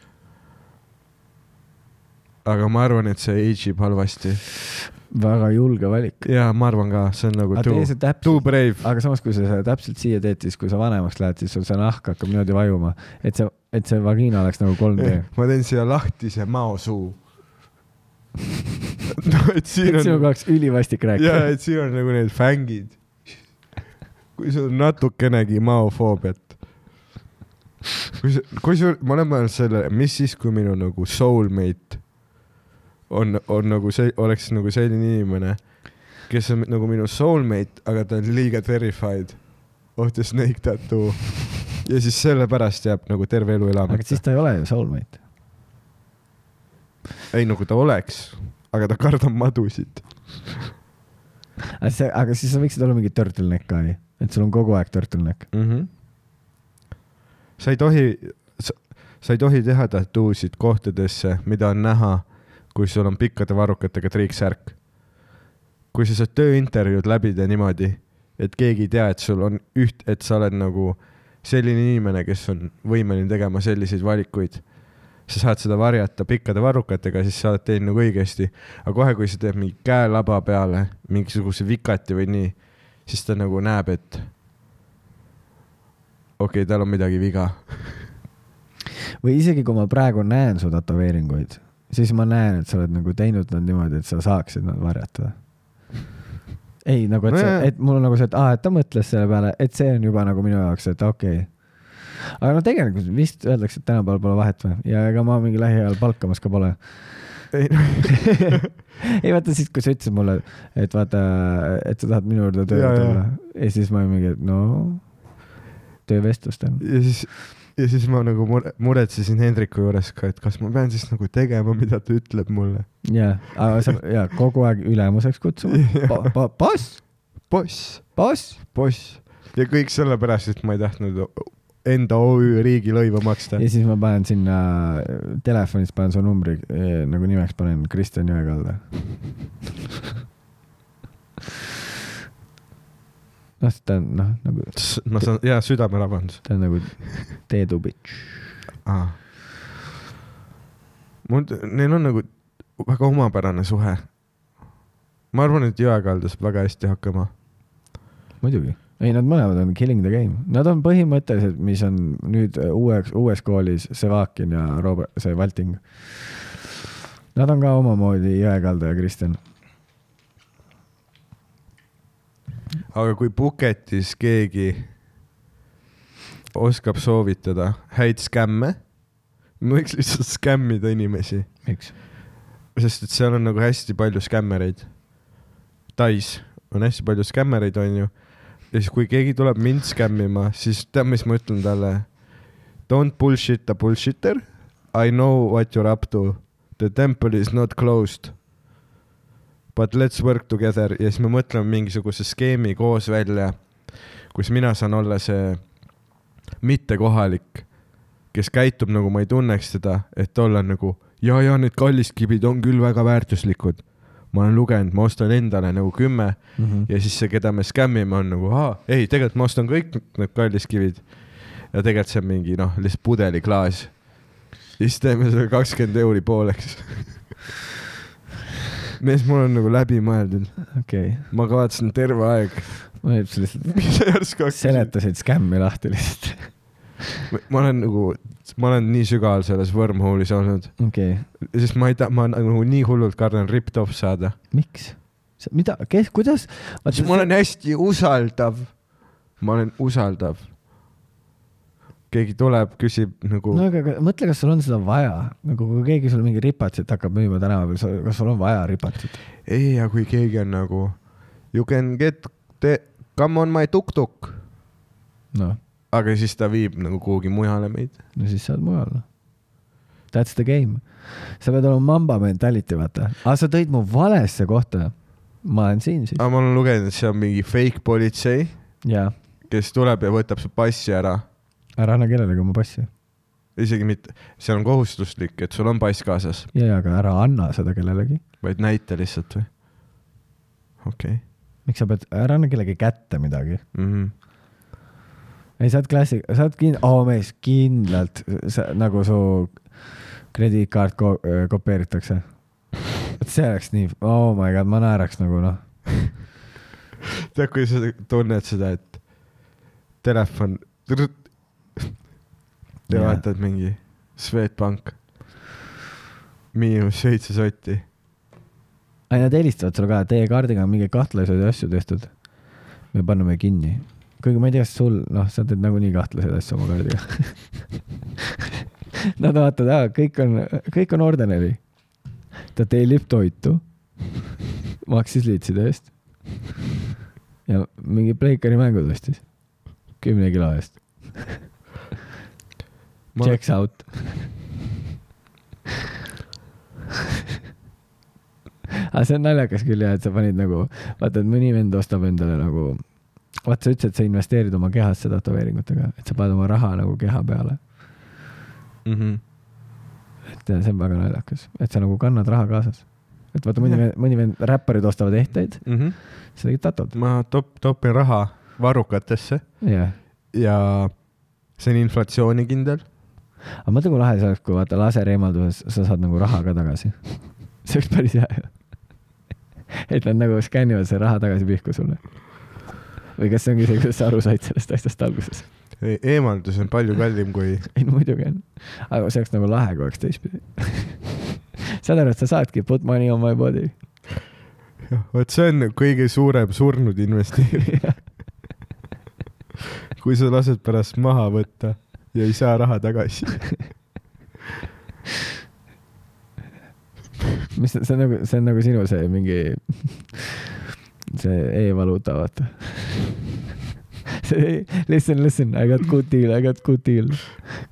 C: aga ma arvan , et see age ib halvasti
D: väga julge valik .
C: ja ma arvan ka , see on nagu
D: aga tee
C: too ,
D: see
C: too
D: täpselt ,
C: brave .
D: aga samas , kui sa seda täpselt siia teed , siis kui sa vanemaks lähed , siis sul see nahk hakkab niimoodi vajuma , et see , et see vagiina oleks nagu 3D .
C: ma teen siia lahtise maosuu . no et siin
D: et
C: on
D: sinuga oleks ülivastik
C: ja
D: rääkida .
C: et siin on nagu need fängid . kui sul on natukenegi maofoobiat . kui sa , kui sul , ma olen mõelnud sellele , mis siis , kui minu nagu soulmate on , on nagu see , oleks nagu selline inimene , kes on nagu minu soulmate , aga ta on liiga terrified of the snake tattoo . ja siis sellepärast jääb nagu terve elu elama
D: aga . siis ta ei ole ju soulmate .
C: ei , nagu ta oleks , aga ta kardab madusid .
D: aga see , aga siis sa võiksid olla mingi turtleneck ka ju , et sul on kogu aeg turtleneck .
C: mm . -hmm. sa ei tohi , sa ei tohi teha tattoosid kohtadesse , mida on näha , kui sul on pikkade varrukatega triiksärk . kui sa saad tööintervjuud läbida niimoodi , et keegi ei tea , et sul on üht , et sa oled nagu selline inimene , kes on võimeline tegema selliseid valikuid , sa saad seda varjata pikkade varrukatega , siis sa oled teinud nagu õigesti . aga kohe , kui sa teed mingi käelaba peale mingisuguse vikati või nii , siis ta nagu näeb , et okei okay, , tal on midagi viga .
D: või isegi kui ma praegu näen su tätoveeringuid , siis ma näen , et sa oled nagu teinud nad niimoodi , et sa saaksid nad varjata . ei nagu , et see
C: Nojah. ,
D: et mul on nagu see , et aa , et ta mõtles selle peale , et see on juba nagu minu jaoks , et okei okay. . aga no tegelikult vist öeldakse , et tänapäeval pole vahet või ja ega ma mingi lähiajal palkamas ka pole .
C: ei noh ,
D: ei vaata siis , kui sa ütlesid mulle , et vaata , et sa tahad minu juurde tööle
C: Jaa, jaa.
D: tulla ja siis ma olin mingi , et no töövestlustel .
C: ja siis , ja siis ma nagu mure , muretsesin Hendriku juures ka , et kas ma pean siis nagu tegema , mida ta ütleb mulle .
D: ja , aga sa ja kogu aeg ülemuseks kutsuma pa, . Pa, boss ,
C: boss ,
D: boss .
C: boss ja kõik sellepärast , et ma ei tahtnud enda OÜ riigilõivu maksta .
D: ja siis ma panen sinna telefonis panen su numbri eh, nagu nimeks panen Kristjan Jõekalda . noh , ta on noh , nagu
C: ma saan , jaa , südamerabandus
D: ta on nagu Teedu bitch .
C: ah. . mul , neil on nagu väga omapärane suhe . ma arvan , et Jõekalda saab väga hästi hakkama .
D: muidugi , ei nad mõlemad on killing the game , nad on põhimõtteliselt , mis on nüüd uueks , uues koolis Sevakin ja Robert , see Valting . Nad on ka omamoodi Jõekalda ja Kristjan .
C: aga kui Puketis keegi oskab soovitada häid skämme , võiks lihtsalt skämmida inimesi ,
D: miks ?
C: sest et seal on nagu hästi palju skämmereid . Tais on hästi palju skämmereid , onju . ja siis , kui keegi tuleb mind skämmima , siis tead , mis ma ütlen talle ? Don't bullshit a bullshitter . I know what you are up to . The temple is not closed . But let's work together ja siis me mõtleme mingisuguse skeemi koos välja , kus mina saan olla see mittekohalik , kes käitub nagu ma ei tunneks teda , et olla nagu ja , ja need kalliskivid on küll väga väärtuslikud . ma olen lugenud , ma ostan endale nagu kümme
D: Mm -hmm.
C: ja siis see , keda me skämmime , on nagu , aa , ei , tegelikult ma ostan kõik need kalliskivid . ja tegelikult see on mingi noh , lihtsalt pudeliklaas . ja siis teeme selle kakskümmend euri pooleks . mees , mul on nagu läbimõeldud ,
D: okei okay. ,
C: ma kavatsen terve aeg .
D: ma nüüd lihtsalt
C: järsku hakkasin ,
D: seletasid skämmi lahti lihtsalt .
C: ma olen nagu , ma olen nii sügaval selles wormhole'is olnud ,
D: okei okay. ,
C: sest ma ei taha , ma nagu nii hullult kardan ripped off saada .
D: miks ? mida , kes , kuidas ?
C: siis ma olen hästi usaldav . ma olen usaldav . keegi tuleb , küsib nagu
D: no aga aga mõtle , kas sul on seda vaja , nagu kui keegi sulle mingi ripatsit hakkab müüma tänava peal , kas sul on vaja ripatsit ?
C: ei , aga kui keegi on nagu you can get the, come on my tuk-tuk ,
D: noh ,
C: aga siis ta viib nagu kuhugi mujale meid .
D: no siis sa oled mujal , noh . That's the game . sa pead olema mamba mentality , vaata . aga sa tõid mu valesse kohta . ma olen siin siis .
C: aga ma olen lugenud , et see on mingi fake politsei ,
D: jaa ,
C: kes tuleb ja võtab su passi ära .
D: ära anna kellelegi oma passi .
C: isegi mitte , see on kohustuslik , et sul on pass kaasas ,
D: ja , ja , aga ära anna seda kellelegi .
C: vaid näita lihtsalt või ? okei okay.
D: miks sa pead , ära anna kellegi kätte midagi .
C: mm -hmm. .
D: ei , sa oled klassi , sa oled kind- , oo mees , kindlalt sa, nagu su krediitkaart ko- , kopeeritakse . vot see oleks nii , oh my god , ma naeraks nagu noh ,
C: tead , kui sa tunned seda , et telefon ja
D: Jaa.
C: vaatad mingi Swedbank , miinus seitse sotti .
D: ei nad helistavad sulle ka , teie kaardiga on mingeid kahtlasi asju tehtud . me paneme kinni . kuigi ma ei tea , kas sul , noh , sa teed nagunii kahtlaseid asju oma kaardiga . Nad vaatavad , kõik on , kõik on ordinary . ta tellib toitu , maksis liitside eest ja mingi Breakeri mängud ostis kümne kilo eest .
C: ma
D: Checks out . aga Ah, see on naljakas küll jah , et sa panid nagu , vaata , et mõni vend ostab endale nagu , vaata , sa ütlesid , et sa investeerid oma kehasse tätoveeringutega , et sa paned oma raha nagu keha peale .
C: mm . -hmm.
D: et see on väga naljakas , et sa nagu kannad raha kaasas . et vaata , mõni
C: Jah. ,
D: mõni vend , räpparid ostavad ehteid ,
C: Mm -hmm.
D: sa tegid tatod .
C: ma top- , topin raha varrukatesse
D: jah .
C: ja see on inflatsioonikindel .
D: aga mõtle , kui lahe see oleks , kui vaata laseri eemalduses sa saad nagu raha ka tagasi . see oleks päris hea ju . et nad nagu skännivad selle raha tagasi pihku sulle . või kas see ongi see , kuidas sa aru said sellest asjast alguses ?
C: E-, eemaldus on palju kallim kui ,
D: ei no muidugi on . aga see oleks nagu lahe , kui oleks teistpidi . saad aru , et sa saadki put money on my body .
C: vot see on kõige suurem surnud investeerimine . kui sa lased pärast maha võtta ja ei saa raha tagasi .
D: mis see see on nagu , see on nagu sinu see mingi , see e-valuuta , vaata . see , listen , listen , I got good deal , I got good deal .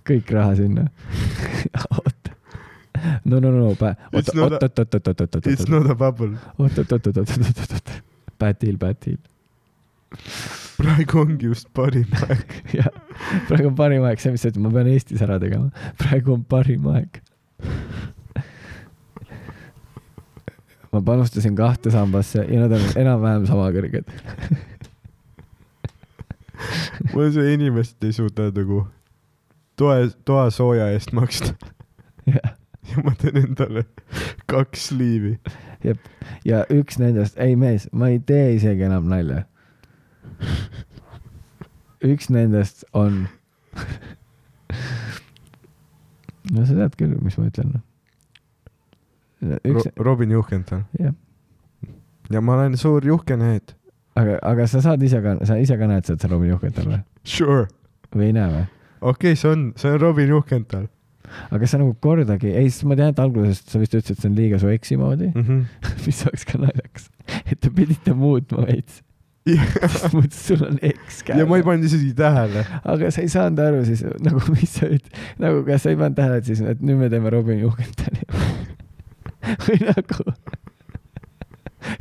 D: kõik raha sinna . oota . no , no , no , oota ,
C: It's
D: oota ,
C: not a-
D: oota , oota , oota , oota , oota ,
C: It's
D: oota ,
C: not a bubble .
D: oota , oota , oota , oota , oota , oota , bad deal , bad deal .
C: praegu ongi just parim aeg .
D: jah , praegu on parim aeg , see , mis sa ütled , ma pean Eestis ära tegema . praegu on parim aeg . ma panustasin kahte sambasse ja nad on enam-vähem sama kõrged .
C: mul on see inimesed ei suuda nagu toe , toasooja eest maksta
D: ja,
C: ja ma teen endale kaks liivi .
D: ja üks nendest , ei mees , ma ei tee isegi enam nalja . üks nendest on . no sa tead küll , mis ma ütlen . üks ,
C: Robin Juhkenthal
D: jah .
C: ja ma olen suur juhkenehed .
D: aga , aga sa saad ise ka , sa ise ka näed seda Robin Juhkental või ?
C: Sure ,
D: või ei näe või ?
C: okei okay, , see on , see on Robin Juhkenthal
D: aga sa nagu kordagi , ei , sest ma tean , et alguses sa vist ütlesid , et see on liiga su eksi moodi
C: mm . -hmm.
D: mis oleks ka naljakas . et te pidite muutma veits . sest muidu sul on eks
C: ja ma ei
D: käes .
C: pannud isegi tähele .
D: aga sa ei saanud aru siis nagu , mis sa üt- , nagu kas sa ei pannud tähele , et siis , et nüüd me teeme Robin Juhkentali või nagu ,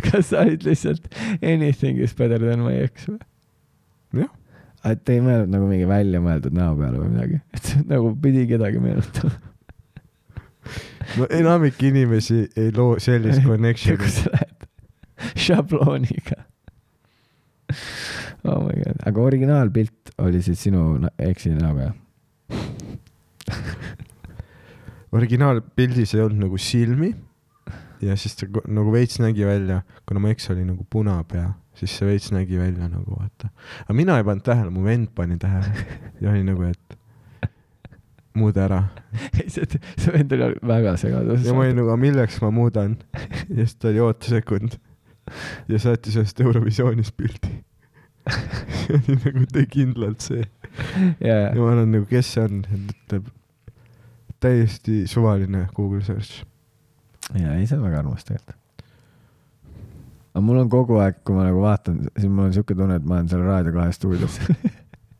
D: kas sa olid lihtsalt anything is better than my ex või ?
C: Jah. .
D: et te ei mõelnud nagu mingi väljamõeldud näo peale või midagi , et see nagu pidi kedagi meenutama .
C: no enamik inimesi ei loo sellist
D: nagu
C: connection'i .
D: sa lähed šablooniga . oh my god , aga originaalpilt oli siis sinu na- eksi näoga ?
C: originaalpildis ei olnud nagu silmi ja siis ta ko- nagu veits nägi välja , kuna mu eks oli nagu punapea , siis see veits nägi välja nagu vaata . aga mina ei pannud tähele , mu vend pani tähele ja oli nagu , et muuda ära .
D: ei , see , see vend oli väga segaduses
C: ja ma olin . nagu , aga milleks ma muudan ? ja siis ta oli ootesekund ja saatis ühest Eurovisioonis pildi . see oli nagu tee kindlalt see . ja
D: jaa ,
C: ma olen nagu , kes see on , ütleb täiesti suvaline Google search .
D: jaa , ei see on väga armas tegelikult . aga mul on kogu aeg , kui ma nagu vaatan , siis mul on siuke tunne , et ma olen seal Raadio kahe stuudios .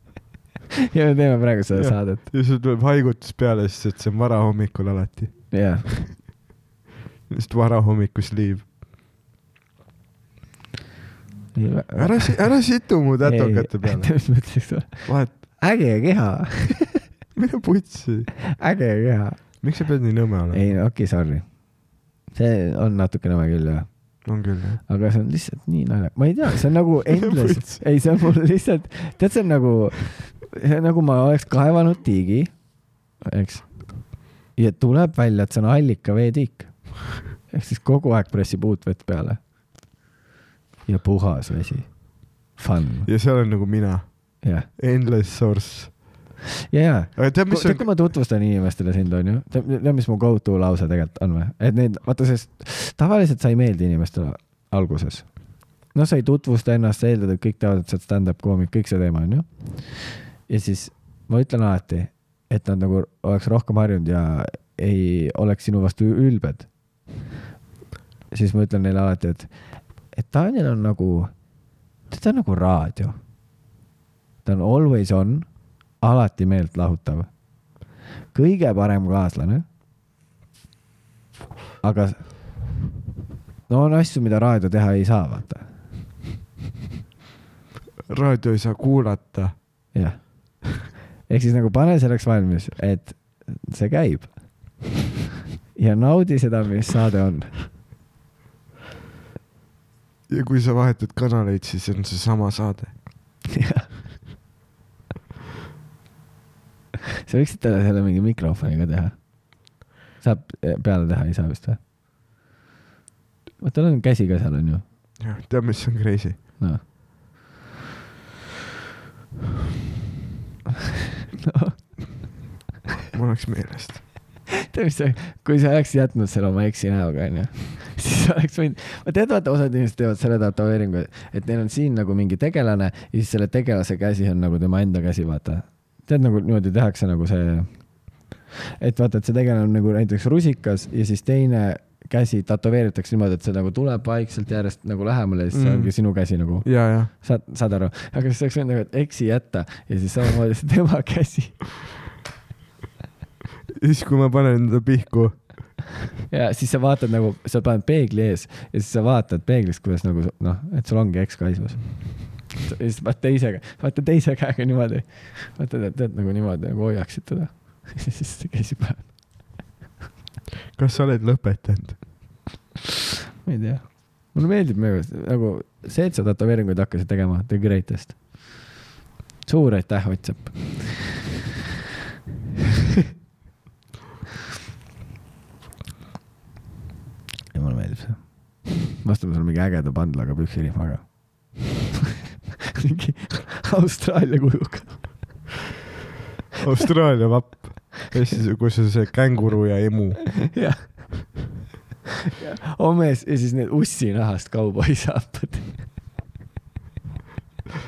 D: ja me teeme praegu seda
C: Jah.
D: saadet .
C: ja sul tuleb haigutus peale , sest et see on varahommikul alati ,
D: jah ,
C: lihtsalt varahommikusliiv . ära , ära situ mu tätokate peale ,
D: peale .
C: vahet ,
D: äge keha ,
C: mine putsi ,
D: äge keha .
C: miks sa pead nii nõme olema ?
D: ei , okei okay, , sorry . see on natuke nõme küll jah ,
C: on küll jah ,
D: aga see on lihtsalt nii naljakas , ma ei tea , see on nagu endless , ei , see on mul lihtsalt , tead , see on nagu , see on nagu ma oleks kaevanud tiigi , eks . ja tuleb välja , et see on allika veetiik . ehk siis kogu aeg pressib uut vett peale . ja puhas vesi . Fun ,
C: ja seal on nagu mina ,
D: jah ,
C: endless source .
D: ja , ja
C: aga tead , mis
D: tead , kui
C: on ,
D: ma tutvustan inimestele sind , onju , tead , mis mu go to lause tegelikult on või ? et need , vaata , sest tavaliselt sa ei meeldi inimestele alguses . no sa ei tutvusta ennast , sa eeldad , et kõik teavad , et sa oled stand-up koomik , kõik see teema , onju . ja siis ma ütlen alati , et nad nagu oleks rohkem harjunud ja ei oleks sinu vastu ülbed . siis ma ütlen neile alati , et , et Daniel on nagu , ta on nagu raadio . ta on always on , alati meelt lahutav . kõige parem kaaslane . aga s- no on asju , mida raadio teha ei saa , vaata .
C: raadio ei saa kuulata ,
D: jah . ehk siis nagu pane selleks valmis , et see käib . ja naudi seda , mis saade on .
C: ja kui sa vahetad kanaleid , siis on seesama saade .
D: sa võiksid talle selle mingi mikrofoni ka teha . saab eh, peale teha , ei saa vist või ? vot tal on käsi ka seal onju ,
C: jah , tead , mis on crazy ?
D: noh .
C: mul läks meelest .
D: tead , mis see , kui sa oleks jätnud selle oma eksinäoga , onju , siis oleks võinud , ma tean , vaata osad inimesed teevad selle tätoveeringu , et neil on siin nagu mingi tegelane ja siis selle tegelase käsi on nagu tema enda käsi , vaata . tead nagu niimoodi tehakse nagu see , et vaata , et see tegelane on nagu näiteks rusikas ja siis teine käsi tätoveeritakse niimoodi , et see nagu tuleb vaikselt järjest nagu lähemale ja siis see
C: Mm.
D: ongi sinu käsi nagu .
C: ja , ja .
D: saad , saad aru , aga siis oleks võinud nagu et eksi jätta ja siis samamoodi see tema käsi
C: siis , kui ma panen ta pihku ,
D: ja siis sa vaatad nagu , sa paned peegli ees ja siis sa vaatad peeglist , kuidas nagu noh , et sul ongi eks kaisus . ja siis paned teisega , vaata teise käega niimoodi , vaata tead, tead nagu niimoodi nagu hoiaksid teda . ja siis ta käsi paneb ,
C: kas sa oled lõpetanud ?
D: ma ei tea . mulle meeldib minu arust nagu see , et sa tätoveeringuid hakkasid tegema , the greatest . suur aitäh , Ott Sepp . ei , mulle meeldib see . me ostame sulle mingi ägeda pandlaga püksirihmaga . mingi Austraalia kujuga .
C: Austraalia vapp , Eestis , kus on see känguru ja emu .
D: jah . omes Oh ja siis need ussinahast kauboisaapad .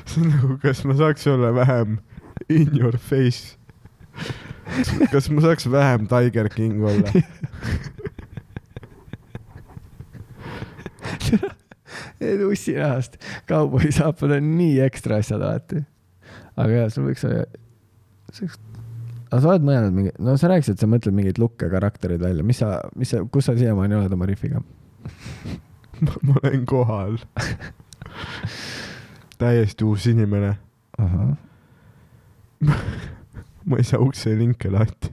C: see on nagu , kas ma saaks olla vähem in your face ? kas ma saaks vähem Tiger King olla ?
D: Need ussinahast kauboisaapad on nii ekstra asjad alati . aga jaa , sul võiks olla , see oleks , aga sa oled mõelnud mingi , no sa rääkisid , sa mõtled mingeid lukke karaktereid välja , mis sa , mis sa , kus sa siiamaani oled oma rifiga ?
C: ma olen kohal . täiesti uus inimene . ma ei saa ukse linke lahti .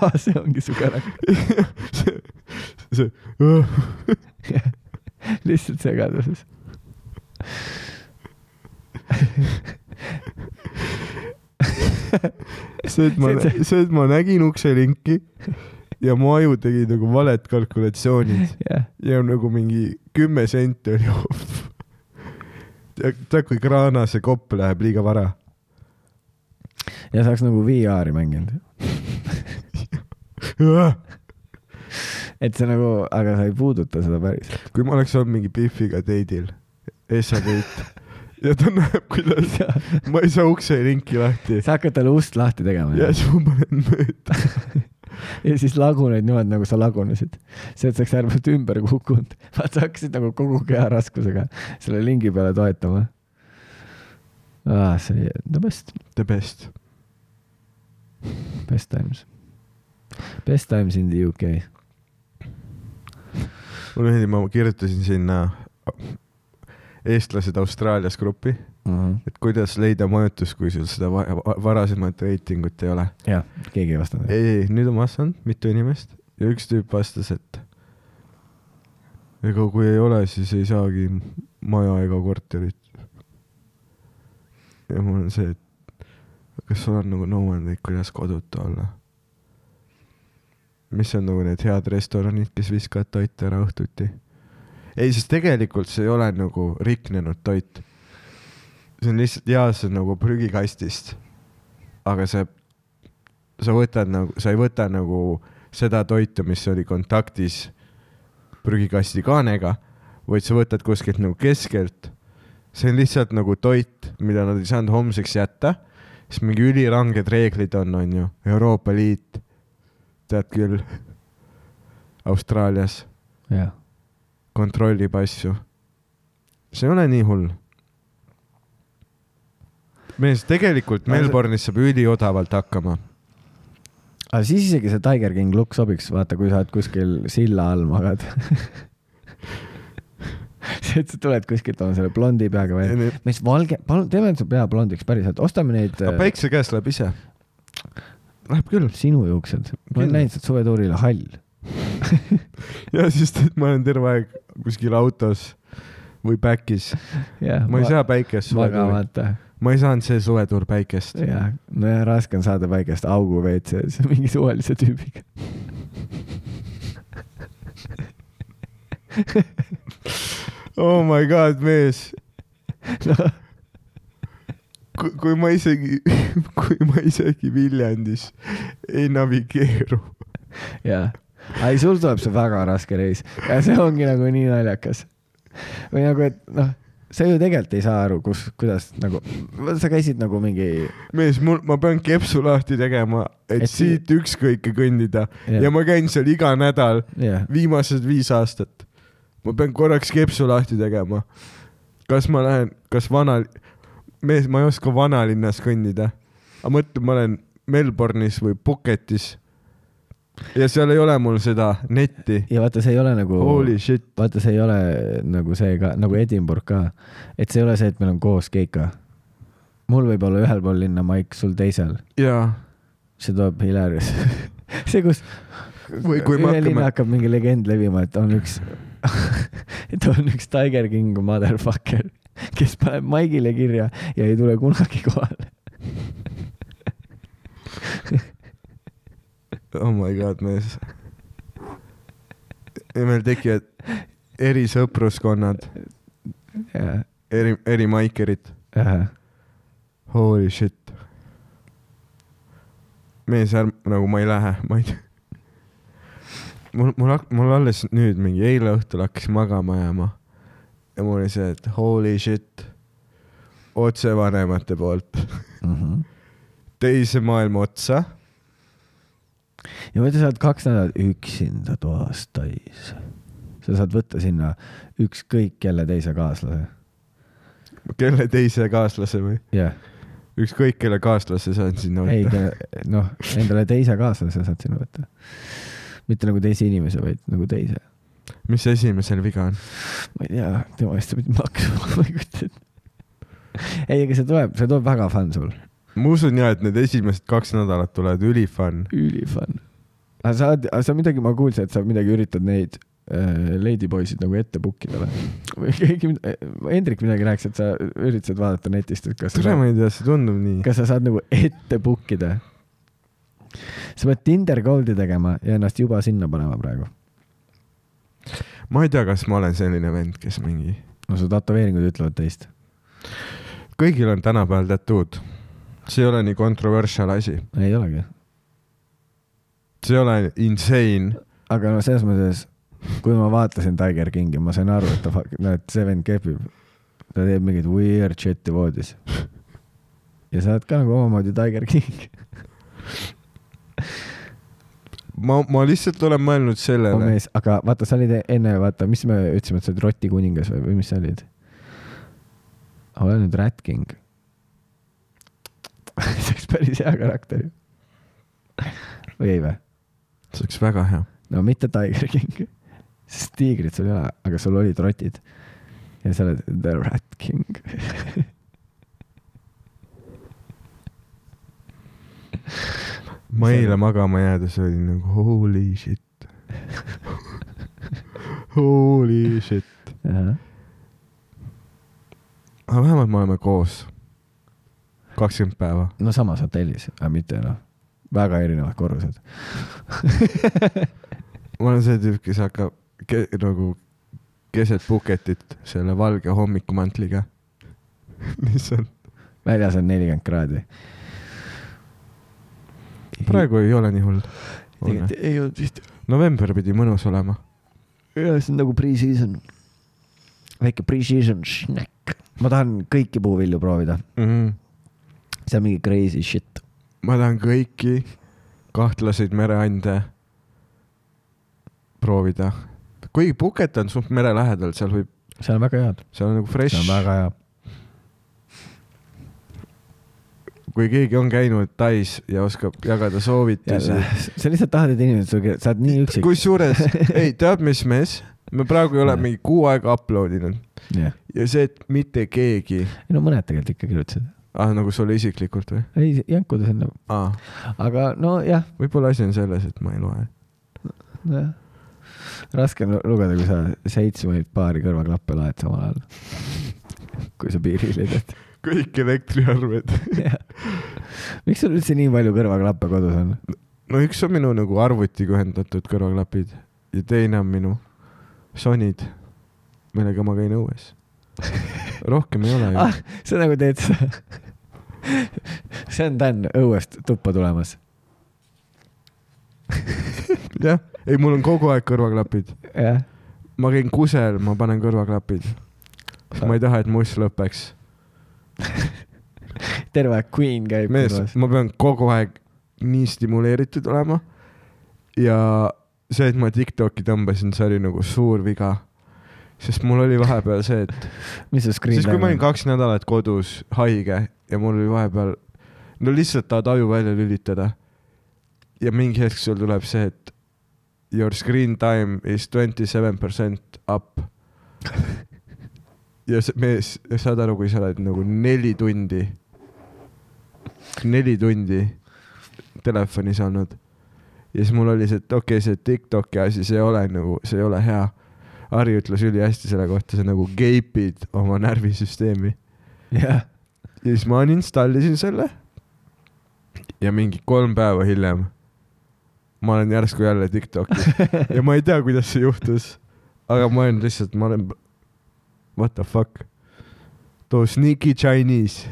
D: Ah, see ongi su karakter ,
C: see , see ,
D: lihtsalt segaduses .
C: see , et ma , see , et ma nägin ukse linki ja mu aju tegi nagu valed kalkulatsioonid
D: jah ,
C: ja nagu mingi kümme senti oli off . tead , kui kraanase kopp läheb liiga vara .
D: ja sa oleks nagu VR-i mänginud , et see nagu , aga sa ei puuduta seda päris .
C: kui ma oleks olnud mingi Biffiga date'il , Essa date , ja ta näeb , kuidas ma ei saa ukse linki lahti
D: sa hakkad talle ust lahti tegema .
C: ja siis ma panen mööda .
D: ja siis laguned niimoodi , nagu sa lagunesid . see , et sa oleks äärmiselt ümber kukkunud . vaata , sa hakkasid nagu kogu keha raskusega selle lingi peale toetama . aa , see oli the best ,
C: The best .
D: best times . Best times in the UK .
C: mulle meeldib , ma kirjutasin sinna eestlased Austraalias gruppi , et kuidas leida majutus , kui sul seda va- va- varasemat reitingut ei ole .
D: jah , keegi ei vastanud .
C: ei , ei , nüüd on vastanud mitu inimest ja üks tüüp vastas , et ega kui ei ole , siis ei saagi maja ega korterit . ja mul on see , et kas sul on nagu nõuandeid , kuidas kodutu olla ? mis on nagu need head restoranid , kes viskavad toitu ära õhtuti ? ei , sest tegelikult see ei ole nagu riknenud toit . see on lihtsalt jaa , see on nagu prügikastist . aga see , sa võtad nagu , sa ei võta nagu seda toitu , mis oli kontaktis prügikasti kaanega , vaid sa võtad kuskilt nagu keskelt . see on lihtsalt nagu toit , mida nad ei saanud homseks jätta , sest mingi üliranged reeglid on , on ju , Euroopa Liit , tead küll , Austraalias
D: jah ,
C: kontrollib asju . see ei ole nii hull . mees , tegelikult
D: Ma ei-
C: Melbourne'is saab üliodavalt hakkama .
D: aga siis isegi see Tiger King look sobiks , vaata , kui sa oled kuskil silla all magad . see , et sa tuled kuskilt oma selle blondi peaga välja . mis valge , palun teeme su pea blondiks päriselt , ostame neid .
C: aga päikse käes läheb ise . Läheb küll .
D: sinu juuksed , ma olen
C: Küll.
D: näinud sealt suvetuurile hall .
C: ja siis tead , ma olen terve aeg kuskil autos või back'is . ma ei saa päikest suvetuuri .
D: magamata
C: ma ei saanud see suvetuur päikest .
D: ja , nojah , raske on saada väikest augu WC-s mingi suvalise tüübiga .
C: oh my god , mees . kui kui ma isegi , kui ma isegi Viljandis ei navigeeru
D: jaa . ei , sul tuleb see väga raske reis ja see ongi nagu nii naljakas . või nagu , et noh , sa ju tegelikult ei saa aru , kus , kuidas nagu , sa käisid nagu mingi ,
C: mees , mul , ma pean kepsu lahti tegema , et
D: Et sii-
C: siit ükskõike kõndida
D: Jah.
C: ja ma käin seal iga nädal
D: jah ,
C: viimased viis aastat . ma pean korraks kepsu lahti tegema . kas ma lähen , kas vana , mees , ma ei oska vanalinnas kõndida . aga mõtle , ma olen Melbourne'is või Phuketis . ja seal ei ole mul seda netti .
D: ja vaata , see ei ole nagu
C: Holy shit .
D: vaata , see ei ole nagu see ka , nagu Edinburgh ka , et see ei ole see , et meil on koos keika . mul võib olla ühel pool linna maik , sul teisel ,
C: jaa .
D: see tuleb hilarious . see , kus
C: Või kui me
D: üle
C: hakkame-
D: linna hakkab mingi legend levima , et on üks , et on üks Tiger King motherfucker , kes paneb Maigile kirja ja ei tule kunagi kohale .
C: oh my god , mees . ja meil tekivad erisõpruskonnad , eri , eri maikerid . Holy shit . mees , ärm- , nagu ma ei lähe , ma ei tea . mul , mul hak- , mul alles nüüd mingi eile õhtul hakkas magama jääma . ja mul oli see , et holy shit . otse vanemate poolt Mhm. teise maailma otsa .
D: ja mõtle , sa oled kaks nädalat üksinda toas täis . sa saad võtta sinna ükskõik kelle teise kaaslase .
C: kelle teise kaaslase või ?
D: jah ,
C: ükskõik kelle kaaslase saan sinna
D: ei
C: võtta .
D: noh , endale teise kaaslase saad sinna võtta . mitte nagu teise inimese , vaid nagu teise .
C: mis esimesel viga on ?
D: ma ei tea , tema eest sa pidid maksma , ma ei kujuta ette . ei , aga see tuleb , see tuleb väga fun sul ,
C: ma usun ja , et need esimesed kaks nädalat tulevad ülifun .
D: üli fun . aga sa oled , sa midagi , ma kuulsin , et sa midagi üritad neid äh, ladyboysid nagu ette book ida või ? või keegi , Hendrik midagi rääkis , et sa üritasid vaadata netist , et kas
C: tule , ma ei tea , see tundub nii .
D: kas sa saad nagu ette book ida ? sa pead Tinder Goldi tegema ja ennast juba sinna panema praegu .
C: ma ei tea , kas ma olen selline vend , kes mingi
D: no su tätoveeringud ütlevad teist .
C: kõigil on tänapäeval tattood . see ei ole nii controversial asi ,
D: ei olegi .
C: see ei ole insane .
D: aga no selles mõttes , kui ma vaatasin Tiger Kingi , ma sain aru , et ta , no et see vend kepib . ta teeb mingit weird shit'i voodis . ja sa oled ka nagu omamoodi Tiger King .
C: ma , ma lihtsalt olen mõelnud
D: mu
C: sellele ,
D: mees , aga vaata , sa olid enne , vaata , mis me ütlesime , et sa oled Roti kuningas või , või mis sa olid ? ole nüüd Rat King . see oleks päris hea karakter ju . või ei või ?
C: see oleks väga hea .
D: no mitte Tiger King , sest tiigrit sul ei ole , aga sul olid rotid . ja sa oled The Rat King .
C: ma eile magama jäädes olin nagu holy shit . Holy shit . aga vähemalt me oleme koos . kakskümmend päeva .
D: no samas hotellis , aga mitte noh , väga erinevad korrused .
C: ma olen see tüüp , kes hakkab ke, nagu keset Phuketit selle valge hommikumantliga . mis on ,
D: väljas on nelikümmend kraadi .
C: praegu ei ole nii hull .
D: tegelikult ei olnud vist ,
C: november pidi mõnus olema .
D: see on nagu pre-season . väike pre-season snack . ma tahan kõiki puuvilju proovida ,
C: mm . -hmm.
D: see on mingi crazy shit .
C: ma tahan kõiki kahtlaseid mereande proovida . kuigi Puket on suht mere lähedal , seal võib ,
D: see on väga hea ,
C: seal on nagu
D: see on
C: fresh .
D: väga hea .
C: kui keegi on käinud Tais ja oskab jagada soovitusi
D: jälle ,. sa lihtsalt tahad , et inimesed sul , sa oled nii üksik .
C: kusjuures , ei tead , mis mees , me praegu ei ole mingi kuu aega upload inud
D: jah ,
C: ja see , et mitte keegi ,
D: ei no mõned tegelikult ikka kirjutasid .
C: ah nagu sulle isiklikult või
D: ei , jänkuda sinna ,
C: ah, ?
D: aga nojah ,
C: võib-olla asi on selles , et ma ei loe .
D: jah . raske on lu- lugeda , kui sa seitsmeid paari kõrvaklappe laed samal ajal . kui sa piiril ei teed .
C: kõik elektriarved .
D: miks sul üldse nii palju kõrvaklappe kodus on ?
C: no üks on minu nagu arvutiga ühendatud kõrvaklapid ja teine on minu Sonid , millega ma käin õues . rohkem ei ole ju
D: Ah, . sa nagu teed seda . see on Dan õuest tuppa tulemas .
C: jah , ei , mul on kogu aeg kõrvaklapid ,
D: jah .
C: ma käin kusel , ma panen kõrvaklapid , sest ma ei taha , et mu uss lõpeks .
D: terve aeg Queen käib .
C: mees , ma pean kogu aeg nii stimuleeritud olema . ja see , et ma TikToki tõmbasin , see oli nagu suur viga . sest mul oli vahepeal see , et
D: mis see screen
C: siis , kui ma olin
D: time on ?
C: kaks nädalat kodus haige ja mul oli vahepeal , no lihtsalt tahad aju välja lülitada . ja mingi hetk sul tuleb see , et your screen time is twenty seven percent up . ja see mees , saad aru , kui sa oled nagu neli tundi , neli tundi telefonis olnud . ja siis mul oli see , et okei okay, , see Tiktoki asi , see ei ole nagu , see ei ole hea Harri ütles ülihästi selle kohta , sa nagu geipid oma närvisüsteemi .
D: jah ,
C: ja siis ma uninstallisin selle . ja mingi kolm päeva hiljem ma olen järsku jälle Tiktokis ja ma ei tea , kuidas see juhtus . aga ma olen lihtsalt , ma olen , what the fuck . too sneaky Chinese ,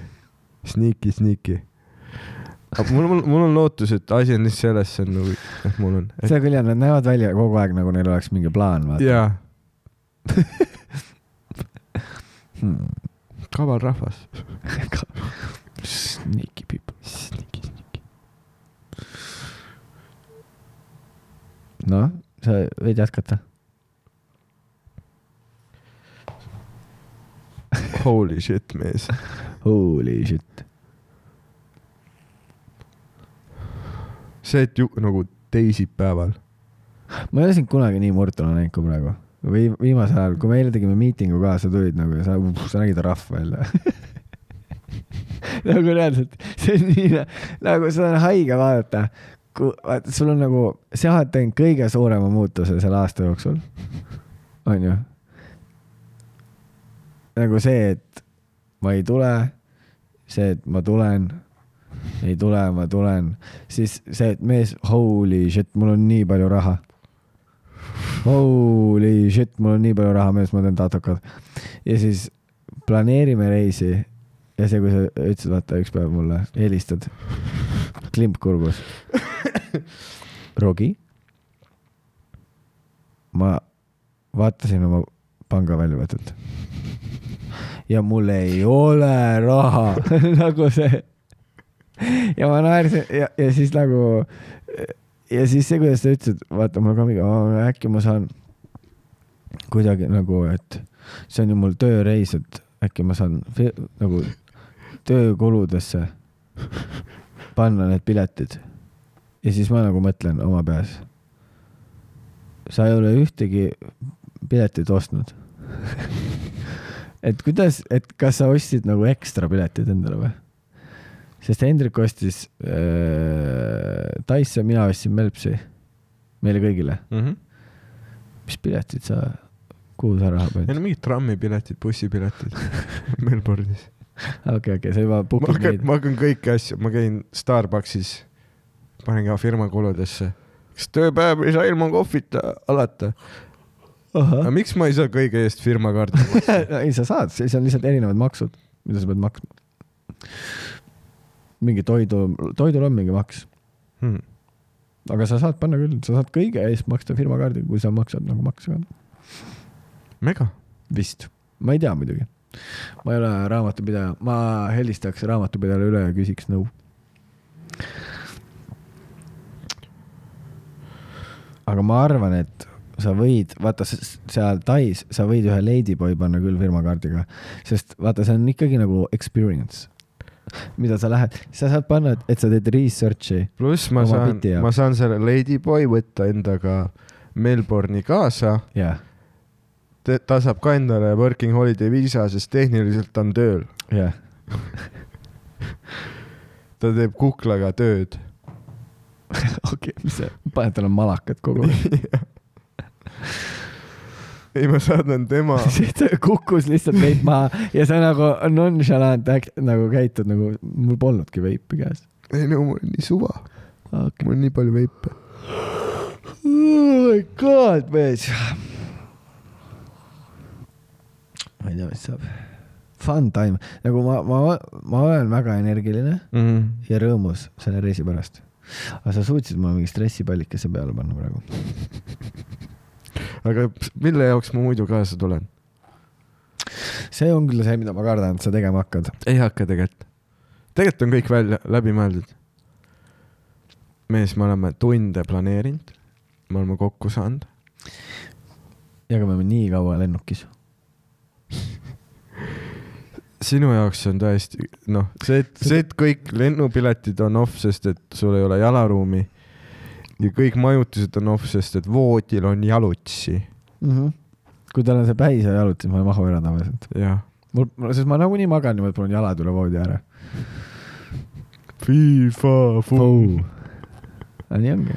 C: sneaky , sneaky . aga mul , mul , mul on lootus , et asi on lihtsalt selles , see on nagu , et mul on .
D: seda küll jah , nad näevad välja kogu aeg , nagu neil oleks mingi plaan , vaata .
C: jaa ,
D: Hmm.
C: kaval rahvas .
D: Sneaky people . noh , sa võid jätkata .
C: Holy shit , mees .
D: Holy shit .
C: see , et ju, nagu teisipäeval ,
D: ma ei ole sind kunagi nii murtuna näinud kui praegu . või viimasel ajal , kui me eile tegime miitingu ka , sa tulid nagu ja sa , sa nägid rahv välja . nagu reaalselt , see on nii , nagu seda on haige vaadata . vaata , sul on nagu , sa oled teinud kõige suurema muutuse selle aasta jooksul . onju . nagu see , et ma ei tule , see , et ma tulen , ei tule , ma tulen , siis see , et mees , holy shit , mul on nii palju raha holy shit , mul on nii palju raha mees , ma teen tatokad . ja siis planeerime reisi ja see , kui sa ütlesid , vaata üks päev mulle , helistad , klimp kurgus . Rogi . ma vaatasin oma pangaväljavõtet ja mul ei ole raha , nagu see . ja ma naersin ja , ja siis nagu ja siis see , kuidas sa ütlesid , vaata mul ka mingi , äkki ma saan kuidagi nagu , et see on ju mul tööreis , et äkki ma saan fi- nagu töökuludesse panna need piletid . ja siis ma nagu mõtlen oma peas . sa ei ole ühtegi piletit ostnud . et kuidas , et kas sa ostsid nagu ekstra piletid endale või ? sest Hendrik ostis äh, Dice ja mina ostsin Melpsi meile kõigile .
C: mm . -hmm.
D: mis piletid sa , kuhu sa raha
C: meil
D: panid ?
C: on mingid trammipiletid , bussipiletid Melbourne'is .
D: Ah, okei , okei , sa juba
C: ma
D: book'id
C: hakkan ,
D: neid .
C: ma hakkan kõiki asju , ma käin Starbuckis , panen ka firma kuludesse . kas tööpäev ei saa ilma kohvita alata ? aga
D: ahah ,
C: miks ma ei saa kõige eest firma kaardi ?
D: ei sa saad , siis on lihtsalt erinevad maksud , mida sa pead maksma . mingi toidu , toidul on mingi maks ,
C: Hmm.
D: aga sa saad panna küll , sa saad kõige eest maksta firmakaardiga , kui sa maksad nagu makse ka .
C: mega .
D: vist , ma ei tea muidugi . ma ei ole raamatupidaja , ma helistaks raamatupidajale üle ja küsiks nõu . aga ma arvan , et sa võid , vaata s- seal Tais , sa võid ühe Ladyboy panna küll firmakaardiga , sest vaata , see on ikkagi nagu experience , mida sa lähed , sa saad panna , et sa teed research'i .
C: pluss ma
D: Oma
C: saan
D: piti , jaoks.
C: ma saan selle Ladyboy võtta endaga Melbourne'i kaasa ,
D: jah ,
C: ta saab ka endale working holiday viisa , sest tehniliselt ta on tööl .
D: jah ,
C: ta teeb kuklaga tööd .
D: okei , mis see , paned talle malakad kogu aeg .
C: ei , ma saadan tema
D: siis ta kukkus lihtsalt veip maha ja sa nagu nonchalant äk- nagu käitud nagu mul polnudki veipi käes .
C: ei no mul on nii suva ,
D: Okay.
C: mul on nii palju veipe .
D: oh my god , mees . ma ei tea , mis saab . Fun time , nagu ma , ma , ma olen väga energiline
C: mm .
D: ja rõõmus selle reisi pärast . aga sa suutsid mulle mingi stressipallikese peale panna praegu .
C: aga ps- mille jaoks ma muidu kaasa tulen ?
D: see on küll see , mida ma kardan , et sa tegema hakkad .
C: ei hakka tegelikult . tegelikult on kõik välja , läbi mõeldud . mees , me oleme tunde planeerinud , me oleme kokku saanud .
D: ja aga me oleme nii kaua lennukis .
C: sinu jaoks see on tõesti , noh , see , et , see , et kõik lennupiletid on off , sest et sul ei ole jalaruumi ja kõik majutused on off , sest et voodil on jalutsi .
D: Mhm. kui tal on see päis ja jalud , siis ma ei mahu ära tavaliselt .
C: jah .
D: mul , sest ma nagunii magan niimoodi , et mul on jalad üle voodi ära .
C: FIFA , FU .
D: aga nii ongi .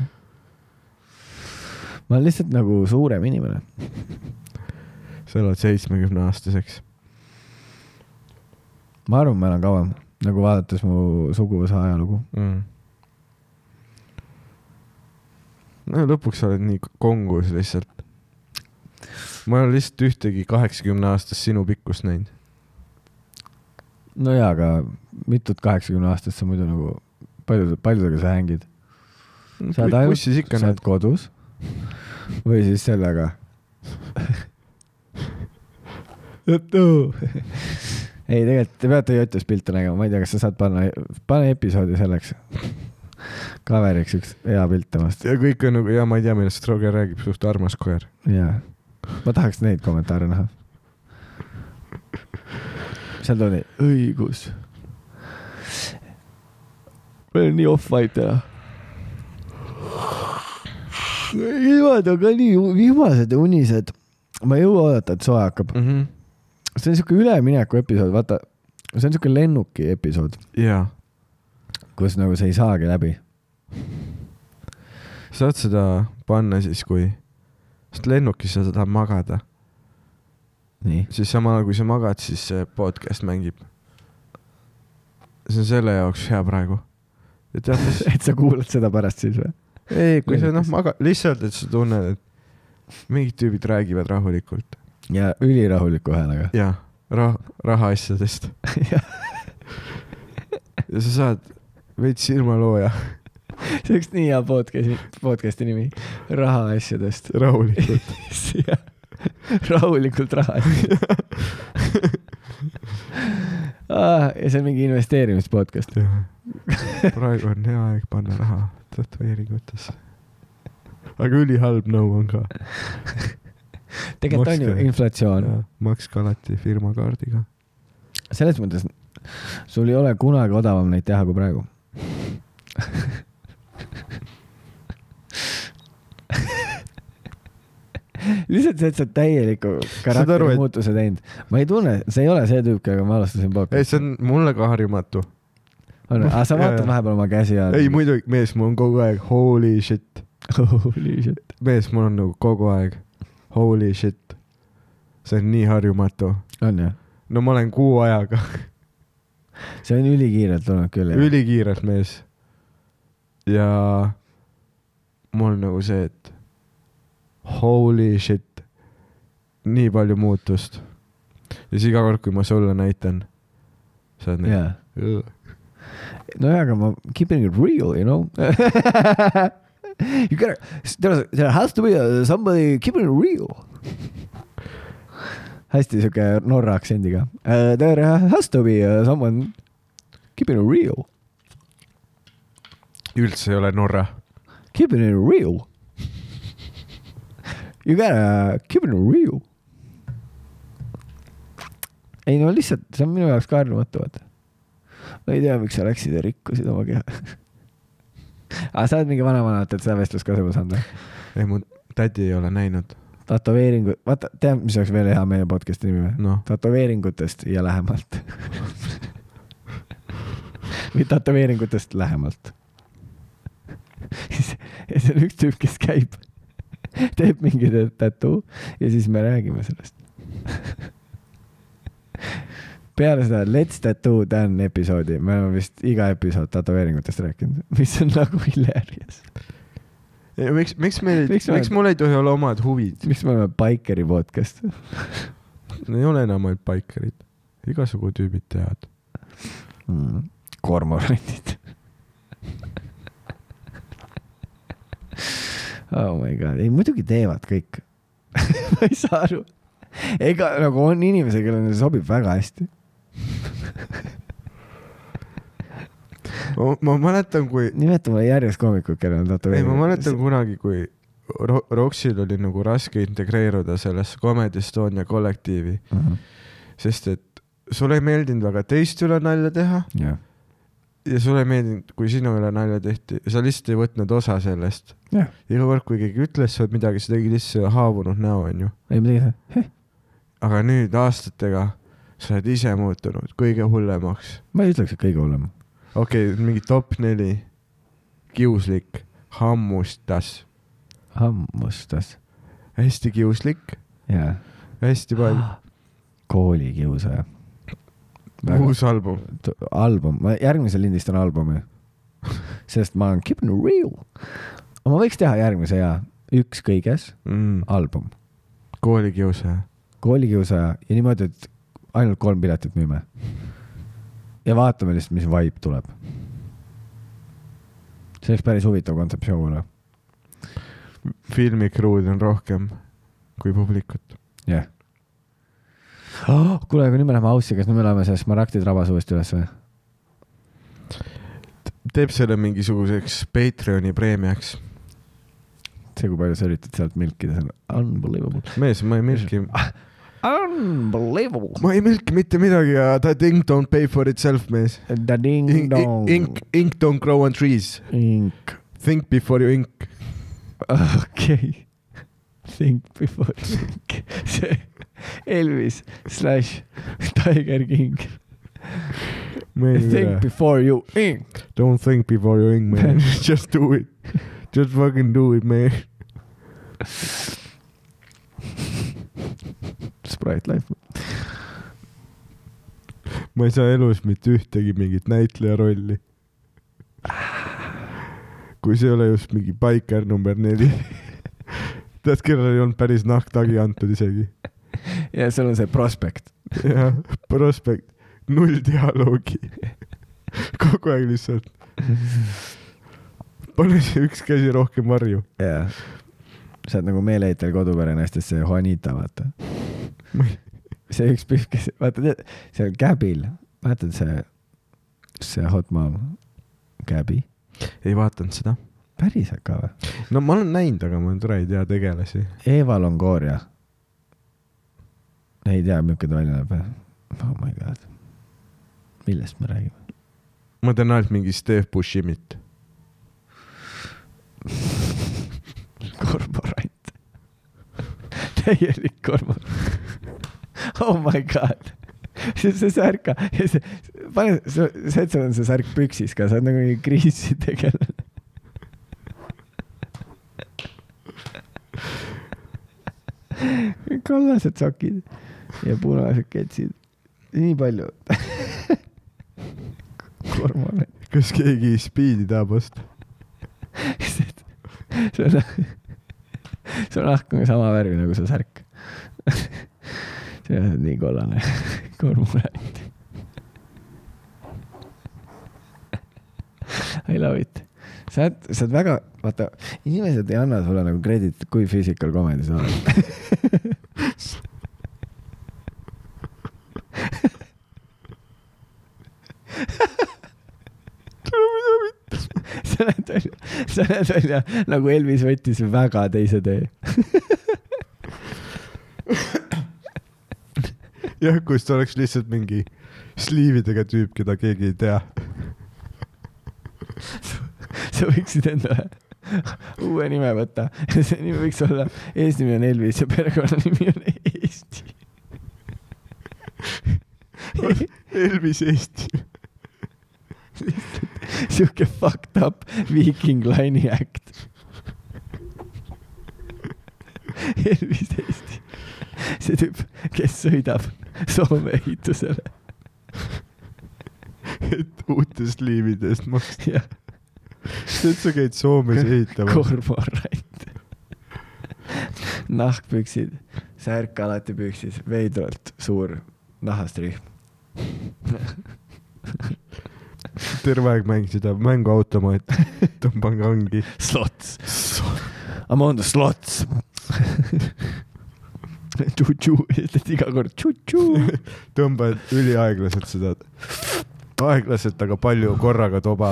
D: ma olen lihtsalt nagu suurem inimene .
C: sa elad seitsmekümne aastaseks .
D: ma arvan , ma elan kauem , nagu vaadates mu suguvõsa ajalugu .
C: mm. . no ja lõpuks sa oled nii kongus lihtsalt . ma ei ole lihtsalt ühtegi kaheksakümne aastast sinu pikkust näinud .
D: no jaa , aga mitut kaheksakümne aastast sa muidu nagu , palju , paljudega sa hängid ? Sa oled ainult-
C: bussis ikka
D: sa oled
C: näed .
D: kodus või siis sellega . et no. ei , tegelikult te peate Jotis pilte nägema , ma ei tea , kas sa saad panna , pane episoodi selleks coveriks üks hea pilt temast
C: ja kõik on nagu ja ma ei tea , millest Roger räägib , suht armas koer .
D: ja ma tahaks neid kommentaare näha . seal tuli õigus . ma olen nii off-white täna . ilmad on ka nii u- vihmased ja unised . ma ei jõua oodata , et soe hakkab .
C: mm -hmm. .
D: see on siuke ülemineku episood , vaata , see on siuke lennuki episood ,
C: jaa .
D: kus nagu sa ei saagi läbi .
C: saad seda panna siis , kui , sest lennukis sa tahad magada ,
D: nii .
C: siis samal ajal kui sa magad , siis see podcast mängib . see on selle jaoks hea praegu . et jah , mis
D: et sa kuulad seda pärast siis või ?
C: ei , kui sa noh
D: Lennukis.
C: maga- , lihtsalt , et sa tunned , et mingid tüübid räägivad rahulikult
D: ja ülirahuliku häälega .
C: ja rah- , rahaasjadest . ja sa saad veits silmalooja
D: see oleks nii hea podcast'i , podcast'i nimi . rahaasjadest .
C: rahulikult .
D: rahulikult raha . Ah, ja see on mingi investeerimispodcast .
C: praegu on hea aeg panna raha tätoveeringutesse . aga ülihalb nõu on ka .
D: tegelikult on ju
C: Makske.
D: inflatsioon .
C: makske alati firma kaardiga .
D: selles mõttes sul ei ole kunagi odavam neid teha kui praegu . lihtsalt see , et sa oled täieliku
C: Saad aru, et-
D: karakterimuutuse teinud . ma ei tunne , sa ei ole see tüüp , kellega ma alustasin
C: ei ,
D: podcast'i .
C: see on mulle ka harjumatu .
D: aga sa
C: Jaa,
D: vaatad
C: jaa.
D: vahepeal oma käsi all .
C: ei muidugi , mees , mul on kogu aeg holy shit
D: Holy shit .
C: mees , mul on nagu kogu aeg holy shit . see on nii harjumatu .
D: on jah ?
C: no ma olen kuu ajaga
D: see on ülikiirelt tulnud küll jah ?
C: ülikiirelt mees . ja mul nagu see , et holy shit , nii palju muutust . ja siis iga kord , kui ma sulle näitan , sa oled nagu,
D: jaa .
C: nii .
D: nojah , aga ma keeping it real , you know You gotta , there is- there has to be a, somebody keeping it real . hästi siuke Norra aktsendiga uh, . There has to be uh, someone keeping it real ,
C: üldse ei ole Norra .
D: keeping it real . You gotta keep it real . ei no lihtsalt , see on minu jaoks ka harjumatu , vaata . ma ei tea , miks sa läksid ja rikkusid oma keha . aga sa oled mingi vanavanematelt seda vestlust ka samas andnud ?
C: ei , mu tädi ei ole näinud ,
D: tätoveeringu , vaata , tead , mis oleks veel hea meie podcast'i nimi või ?
C: noh .
D: tätoveeringutest ja lähemalt . või tätoveeringutest lähemalt . ja see on üks tüüp , kes käib , teeb mingi tä- tattoo ja siis me räägime sellest . peale seda Let's Tattoo Dan episoodi , me oleme vist iga episood tätoveeringutest rääkinud , mis on nagu hilarious .
C: miks , miks meil ,
D: Miks
C: miks,
D: me-
C: miks mul ei tohi olla omad huvid ?
D: miks me oleme Bikeri podcast ?
C: ei ole enam ainult baikerid , igasugu tüübid teavad .
D: mm. . kormoranid . oh my god , ei muidugi teevad kõik . ma ei saa aru . ega nagu on inimesi , kellele see sobib väga hästi .
C: ma mäletan , kui ,
D: nimeta mulle järjest koomikuid , kellel on
C: ei
D: tätoveeringud .
C: ma mäletan kunagi , kui Ro- Roxil oli nagu raske integreeruda sellesse Comedy Estonia kollektiivi ,
D: mäletan .
C: sest et sulle ei meeldinud väga teiste üle nalja teha
D: jah ,
C: ja sulle ei meeldinud , kui sinu üle nalja tehti , sa lihtsalt ei võtnud osa sellest .
D: jah ,
C: iga kord , kui keegi ütles sulle midagi , sa tegid lihtsalt haavunud näo , onju .
D: ei midagi ei saa .
C: aga nüüd aastatega sa oled ise muutunud kõige hullemaks .
D: ma ei ütleks , et kõige hullem .
C: okei okay, , mingi top neli , kiuslik , hammustas ,
D: hammustas .
C: hästi kiuslik ,
D: jaa .
C: hästi palju ,
D: Ah, koolikiusaja .
C: uus album .
D: album , ma järgmisel lindistan albumi . sest ma olen keeping it real . ma võiks teha järgmise ja üks kõiges
C: mm. .
D: album ,
C: koolikiusaja .
D: koolikiusaja ja niimoodi , et ainult kolm piletit müüme . ja vaatame lihtsalt , mis vibe tuleb . see oleks päris huvitav kontseptsioon .
C: filmikruud on rohkem kui publikut .
D: jah oh, . kuule , aga nüüd me läheme house'i , kas nüüd me läheme selles Smaragdi trabas uuesti üles või ?
C: teeb selle mingisuguseks Patreoni preemiaks .
D: see , kui palju sa üritad sealt milkida , see on unbelievable .
C: mees , ma ei milki ,
D: Unbelievable .
C: ma ei milki mitte midagi ja the ding don't pay for itself , mees .
D: The ding dong .
C: Ink , ink don't grow on trees .
D: Ink .
C: Think before you ink .
D: okei . Think before you think . see Elvis slash Tiger King . Think before you ink .
C: Don't think before you ink , man . Just do it . Just fucking do it , man .
D: Sprite Life .
C: ma ei saa elus mitte ühtegi mingit näitleja rolli . kui see ei ole just mingi paiker number neli . tead , kellel ei olnud päris nahktagi antud isegi .
D: ja seal on see prospekt .
C: jah , prospekt , null dialoogi . kogu aeg lihtsalt . pane see üks käsi rohkem varju .
D: jaa . sa oled nagu meeleheitel kodupere naistest see Juanita , vaata . see üks pühk , kes , vaata tead , seal Gabil , mäletad see , see hot mom , Gabi .
C: ei vaadanud seda .
D: päris äkki või ?
C: no ma olen näinud , aga ma tore ei tea tegelasi .
D: Eva Longoria . ei tea , milline ta välja näeb või ? Oh my god . millest me räägime ?
C: ma tean ainult mingi Steve Bushimit .
D: kormorant . täielik kormorant . Oh my god . see , see särk , see , pane , see , see , et sul on see särk püksis ka , sa oled nagu mingi kriisi tegelane . kollased sokid ja punased ketsid . nii palju . kormorant .
C: kas keegi Speedi tahab osta ?
D: see see on , see on lahkunud sama värvi nagu see särk . see on nii kollane kormurant . I love it . sa oled , sa oled väga , vaata , inimesed ei anna sulle nagu krediit , kui physical comedy sa oled . sa näed välja , sa näed välja nagu Elvis võttis väga teise tee .
C: jah , kus ta oleks lihtsalt mingi sliividega tüüp , keda keegi ei tea .
D: sa võiksid endale uue nime võtta . see nimi võiks olla , eesnimi on Elvis ja perekonnanimi on Eesti .
C: Elvis Eesti .
D: sihuke fucked up viiking line'i äkt . Elvis Eesti , see tüüp , kes sõidab Soome ehitusele
C: et uute sliivide eest maksta .
D: ja
C: tead , sa käid Soomes ehitamas .
D: kormorant . nahkpüksid , särk alati püksis , veidralt suur nahast rihm .
C: terve aeg mäng seda mänguautomaat , tõmban kangi .
D: Slots . I m on the slots tšu-tšu , ütled iga kord tšu-tšu .
C: tõmbad üliaeglaselt seda , aeglaselt , aga palju korraga toba .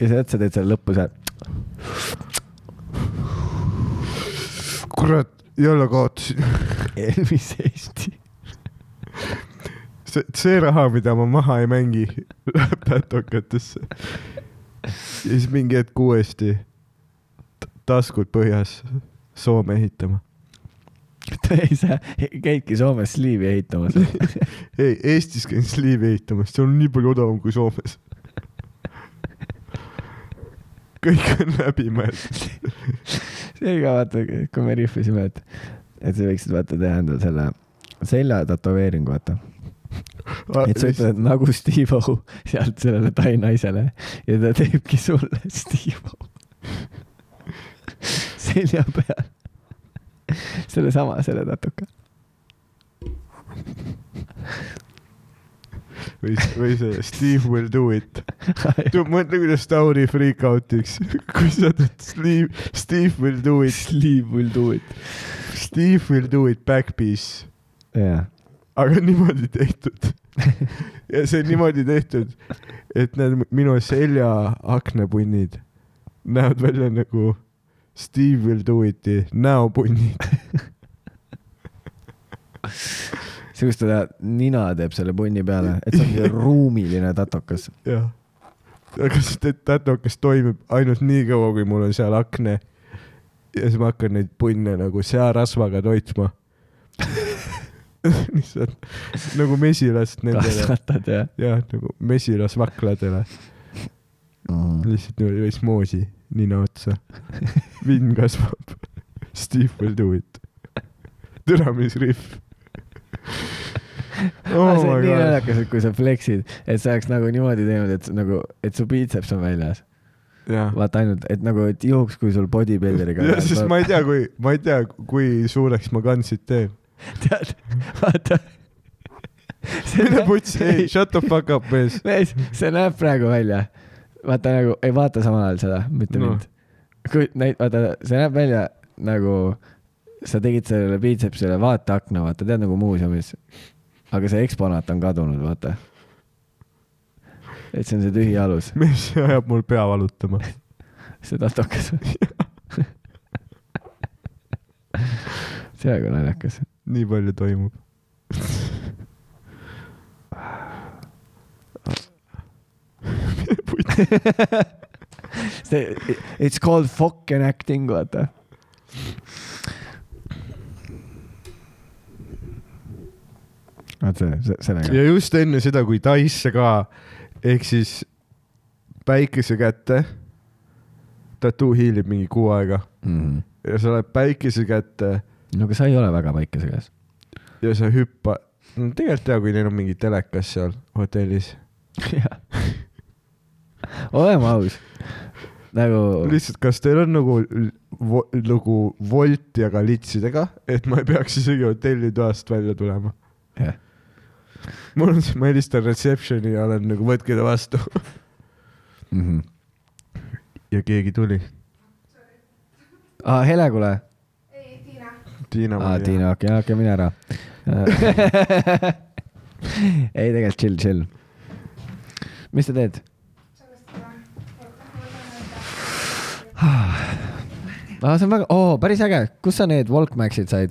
D: ja sealt sa teed selle lõppu , see
C: kurat , jälle kaotasin .
D: Elvis Eesti .
C: see , see raha , mida ma maha ei mängi , läheb pätokatesse . ja siis mingi hetk uuesti t- taskud põhjas Soome ehitama .
D: ei , sa käidki Soomes sliivi ehitamas .
C: ei , Eestis käin sliivi ehitamas , see on nii palju odavam kui Soomes . kõik on läbimõeldud .
D: seega vaata , kui me rihvisime , et , et sa võiksid vaata teha endale selle selja tätoveeringu , vaata . et
C: Ah,
D: sa ütled nagu Steve-O sealt sellele tai naisele ja ta teebki sulle Steve-O selja peal . sellesama , selle natuke .
C: või , või see Steve will do it . mõtle , kuidas Tauri freak out'iks , kui sa ütled Steve , Steve will do it ,
D: Sleeve will do it .
C: Steve will do it back piece ,
D: jaa ,
C: aga niimoodi tehtud . ja see niimoodi tehtud , et need minu selja aknapunnid näevad välja nagu Steve will do it'i näopunnid .
D: see , kus ta teha- nina teeb selle punni peale , et see on see ruumiline tatokas .
C: jah . aga see tätokas toimib ainult nii kaua , kui mul on seal akne . ja siis ma hakkan neid punne nagu searasvaga toitma . lihtsalt nagu mesilast nendele ,
D: kasvatad ja
C: jah , nagu mesilasvakladele ,
D: mm. .
C: lihtsalt niimoodi osmoosi nina otsa . vinn kasvab . Steve will do it . türamisrihv .
D: Oh
C: Oh
D: Ah, see on
C: my
D: nii
C: god ,
D: naljakas , et kui sa flex'id , et sa oleks nagu niimoodi teinud , et s- nagu , et su biitseps on väljas .
C: jah
D: vaata ainult , et nagu , et juhuks , kui sul bodybuilderiga
C: ja siis ma ei tea , kui , ma ei tea , kui suureks ma kantsid teen .
D: tead , vaata .
C: mine putsi , ei , shut the fuck up , mees .
D: mees , see näeb praegu välja , vaata nagu , ei vaata samal ajal seda , mitte no.
C: No.
D: mind . kui näit- , vaata , see näeb välja nagu sa tegid sellele biitsepsile vaateakna , vaata , tead nagu muuseumis . aga see eksponaat on kadunud , vaata . et see on see tühi alus ,
C: mees see ajab mul pea valutama .
D: see tatokas . see on nagu naljakas .
C: nii palju toimub .
D: see , it's called fucking acting , vaata . vaata see , sellega
C: ja . just enne seda , kui Taisse ka , ehk siis päikese kätte , tattoo hiilib mingi kuu aega ja sa lähed päikese kätte
D: Mhm. no aga sa ei ole väga päikese käes .
C: ja sa hüppa- , no tegelikult hea , kui neil on mingi telekas seal hotellis .
D: oleme aus , nagu
C: lihtsalt , kas teil on nagu vo, nagu volti , aga litsidega , et ma ei peaks isegi hotellitoast välja tulema ?
D: jah.
C: mul on see , ma helistan reception'i ja olen nagu võtke ta vastu
D: mm -hmm.
C: ja keegi tuli .
D: ah, . Hele , kuule .
C: Tiina
D: aa , Tiina , okei , okei , mine ära . ei , tegelikult chill , chill . mis sa teed ? aa , see on väga oh, , päris äge , kus sa need Walkmaxid said ?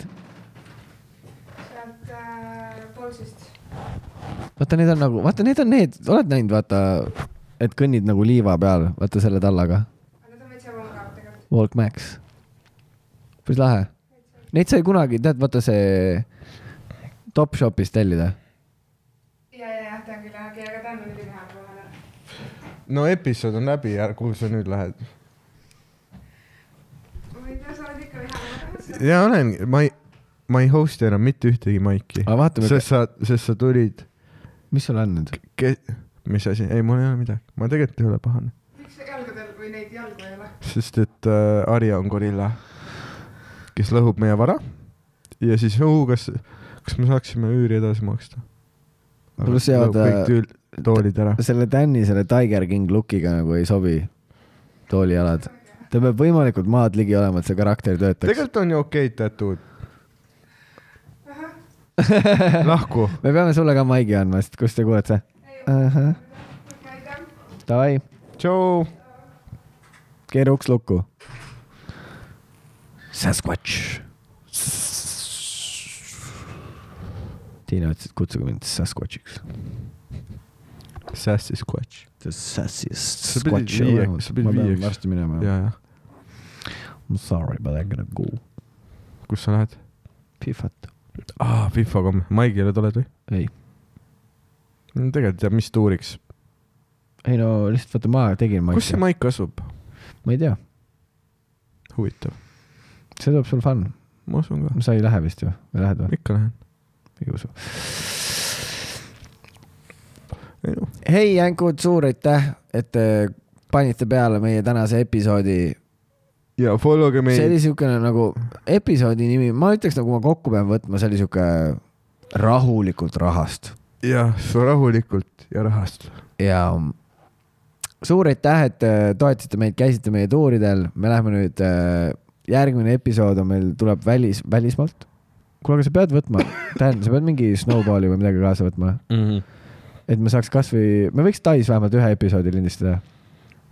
E: sealt äh, Polsist .
D: vaata , need on nagu , vaata , need on need , oled näinud , vaata , et kõnnid nagu liiva peal , vaata selle tallaga ,
E: aga ta on veits ebamugavad tegelikult .
D: Walkmax . päris lahe . Neid sai kunagi , tead , vaata see Topshopist tellida .
E: ja , ja , jah , ta on küll äge , aga ta on muidugi näha kohal .
C: no episood on läbi , kuhu sa nüüd lähed ?
E: ma ei tea , sa oled ikka vihane .
C: ja olen , ma ei , ma ei host'i enam mitte ühtegi maiki ,
D: aga vaatame ,
C: sest sa , sest sa tulid ,
D: mis sul on nüüd ?
C: ke- , mis asi , ei , mul ei ole midagi , ma tegelikult ei ole pahane ,
E: miks jalgadel või neid jalgu ei ole ?
C: sest et äh, Arja on gorilla , kes lõhub meie vara ja siis , kas , kas me saaksime üüri edasi maksta ?
D: Pluss jäävad,
C: kõik tüül- , toolid ära .
D: selle Tänni selle Tiger King lookiga nagu ei sobi toolijalad . ta peab võimalikult maad ligi olema , et see karakter töötaks .
C: tegelikult on ju okeid tätud . lahku .
D: me peame sulle ka maigi andma , sest kust te kuulete ? Davai ,
C: tšau .
D: keera uks lukku . Sasquatš . Tiina ütles , et kutsuge mind Sasquatšiks .
C: Sassy Squatch .
D: The
C: Sa
D: sassiest
C: pidid viieks- sa pidid
D: ma pean
C: viieks.
D: varsti minema
C: ja ,
D: yeah. .
C: ja .
D: I m sorry but I gotta go .
C: kus sa lähed ?
D: Pihvat .
C: aa , Fifoga . Maigile tuled või ?
D: ei ,
C: tegelikult ei tea , mis tuuriks .
D: ei no lihtsalt vaata , ma tegin maigi .
C: kus see maik asub ?
D: ma ei tea ,
C: huvitav .
D: see tuleb sul fun .
C: ma usun ka .
D: sa ei lähe vist ju , või lähed või ?
C: ikka lähen .
D: ei usu .
C: ei noh .
D: hei , Jänkud , suur aitäh , et te panite peale meie tänase episoodi .
C: ja follow ge
D: see
C: meid
D: oli . siukene nagu episoodi nimi , ma ütleks , nagu ma kokku pean võtma , see oli siuke rahulikult rahast
C: jah , rahulikult ja rahast .
D: ja suur aitäh , et äh, toetasite meid , käisite meie tuuridel , me läheme nüüd , järgmine episood on meil , tuleb välis , välismaalt . kuule , aga sa pead võtma , tähendab , sa pead mingi snowball'i või midagi kaasa võtma , et me saaks kasvõi , me võiks Tais vähemalt ühe episoodi lindistada .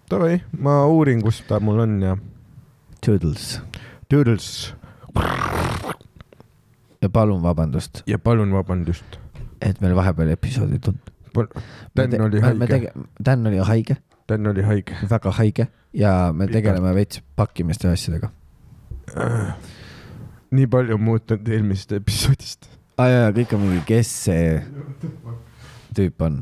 C: Davai , ma uurin , kus ta mul on ja .
D: Toodles .
C: Toodles .
D: ja palun vabandust ,
C: ja palun vabandust .
D: et meil vahepeal episoodi ei tulnud .
C: Dan oli haige ,.
D: Dan oli haige ,
C: Dan oli haige .
D: väga haige ja me
C: Pikalt.
D: tegeleme veits pakkimiste asjadega .
C: nii palju on muutunud eelmisest episoodist .
D: aa jaa , kõik on mingi , kes see tüüp on .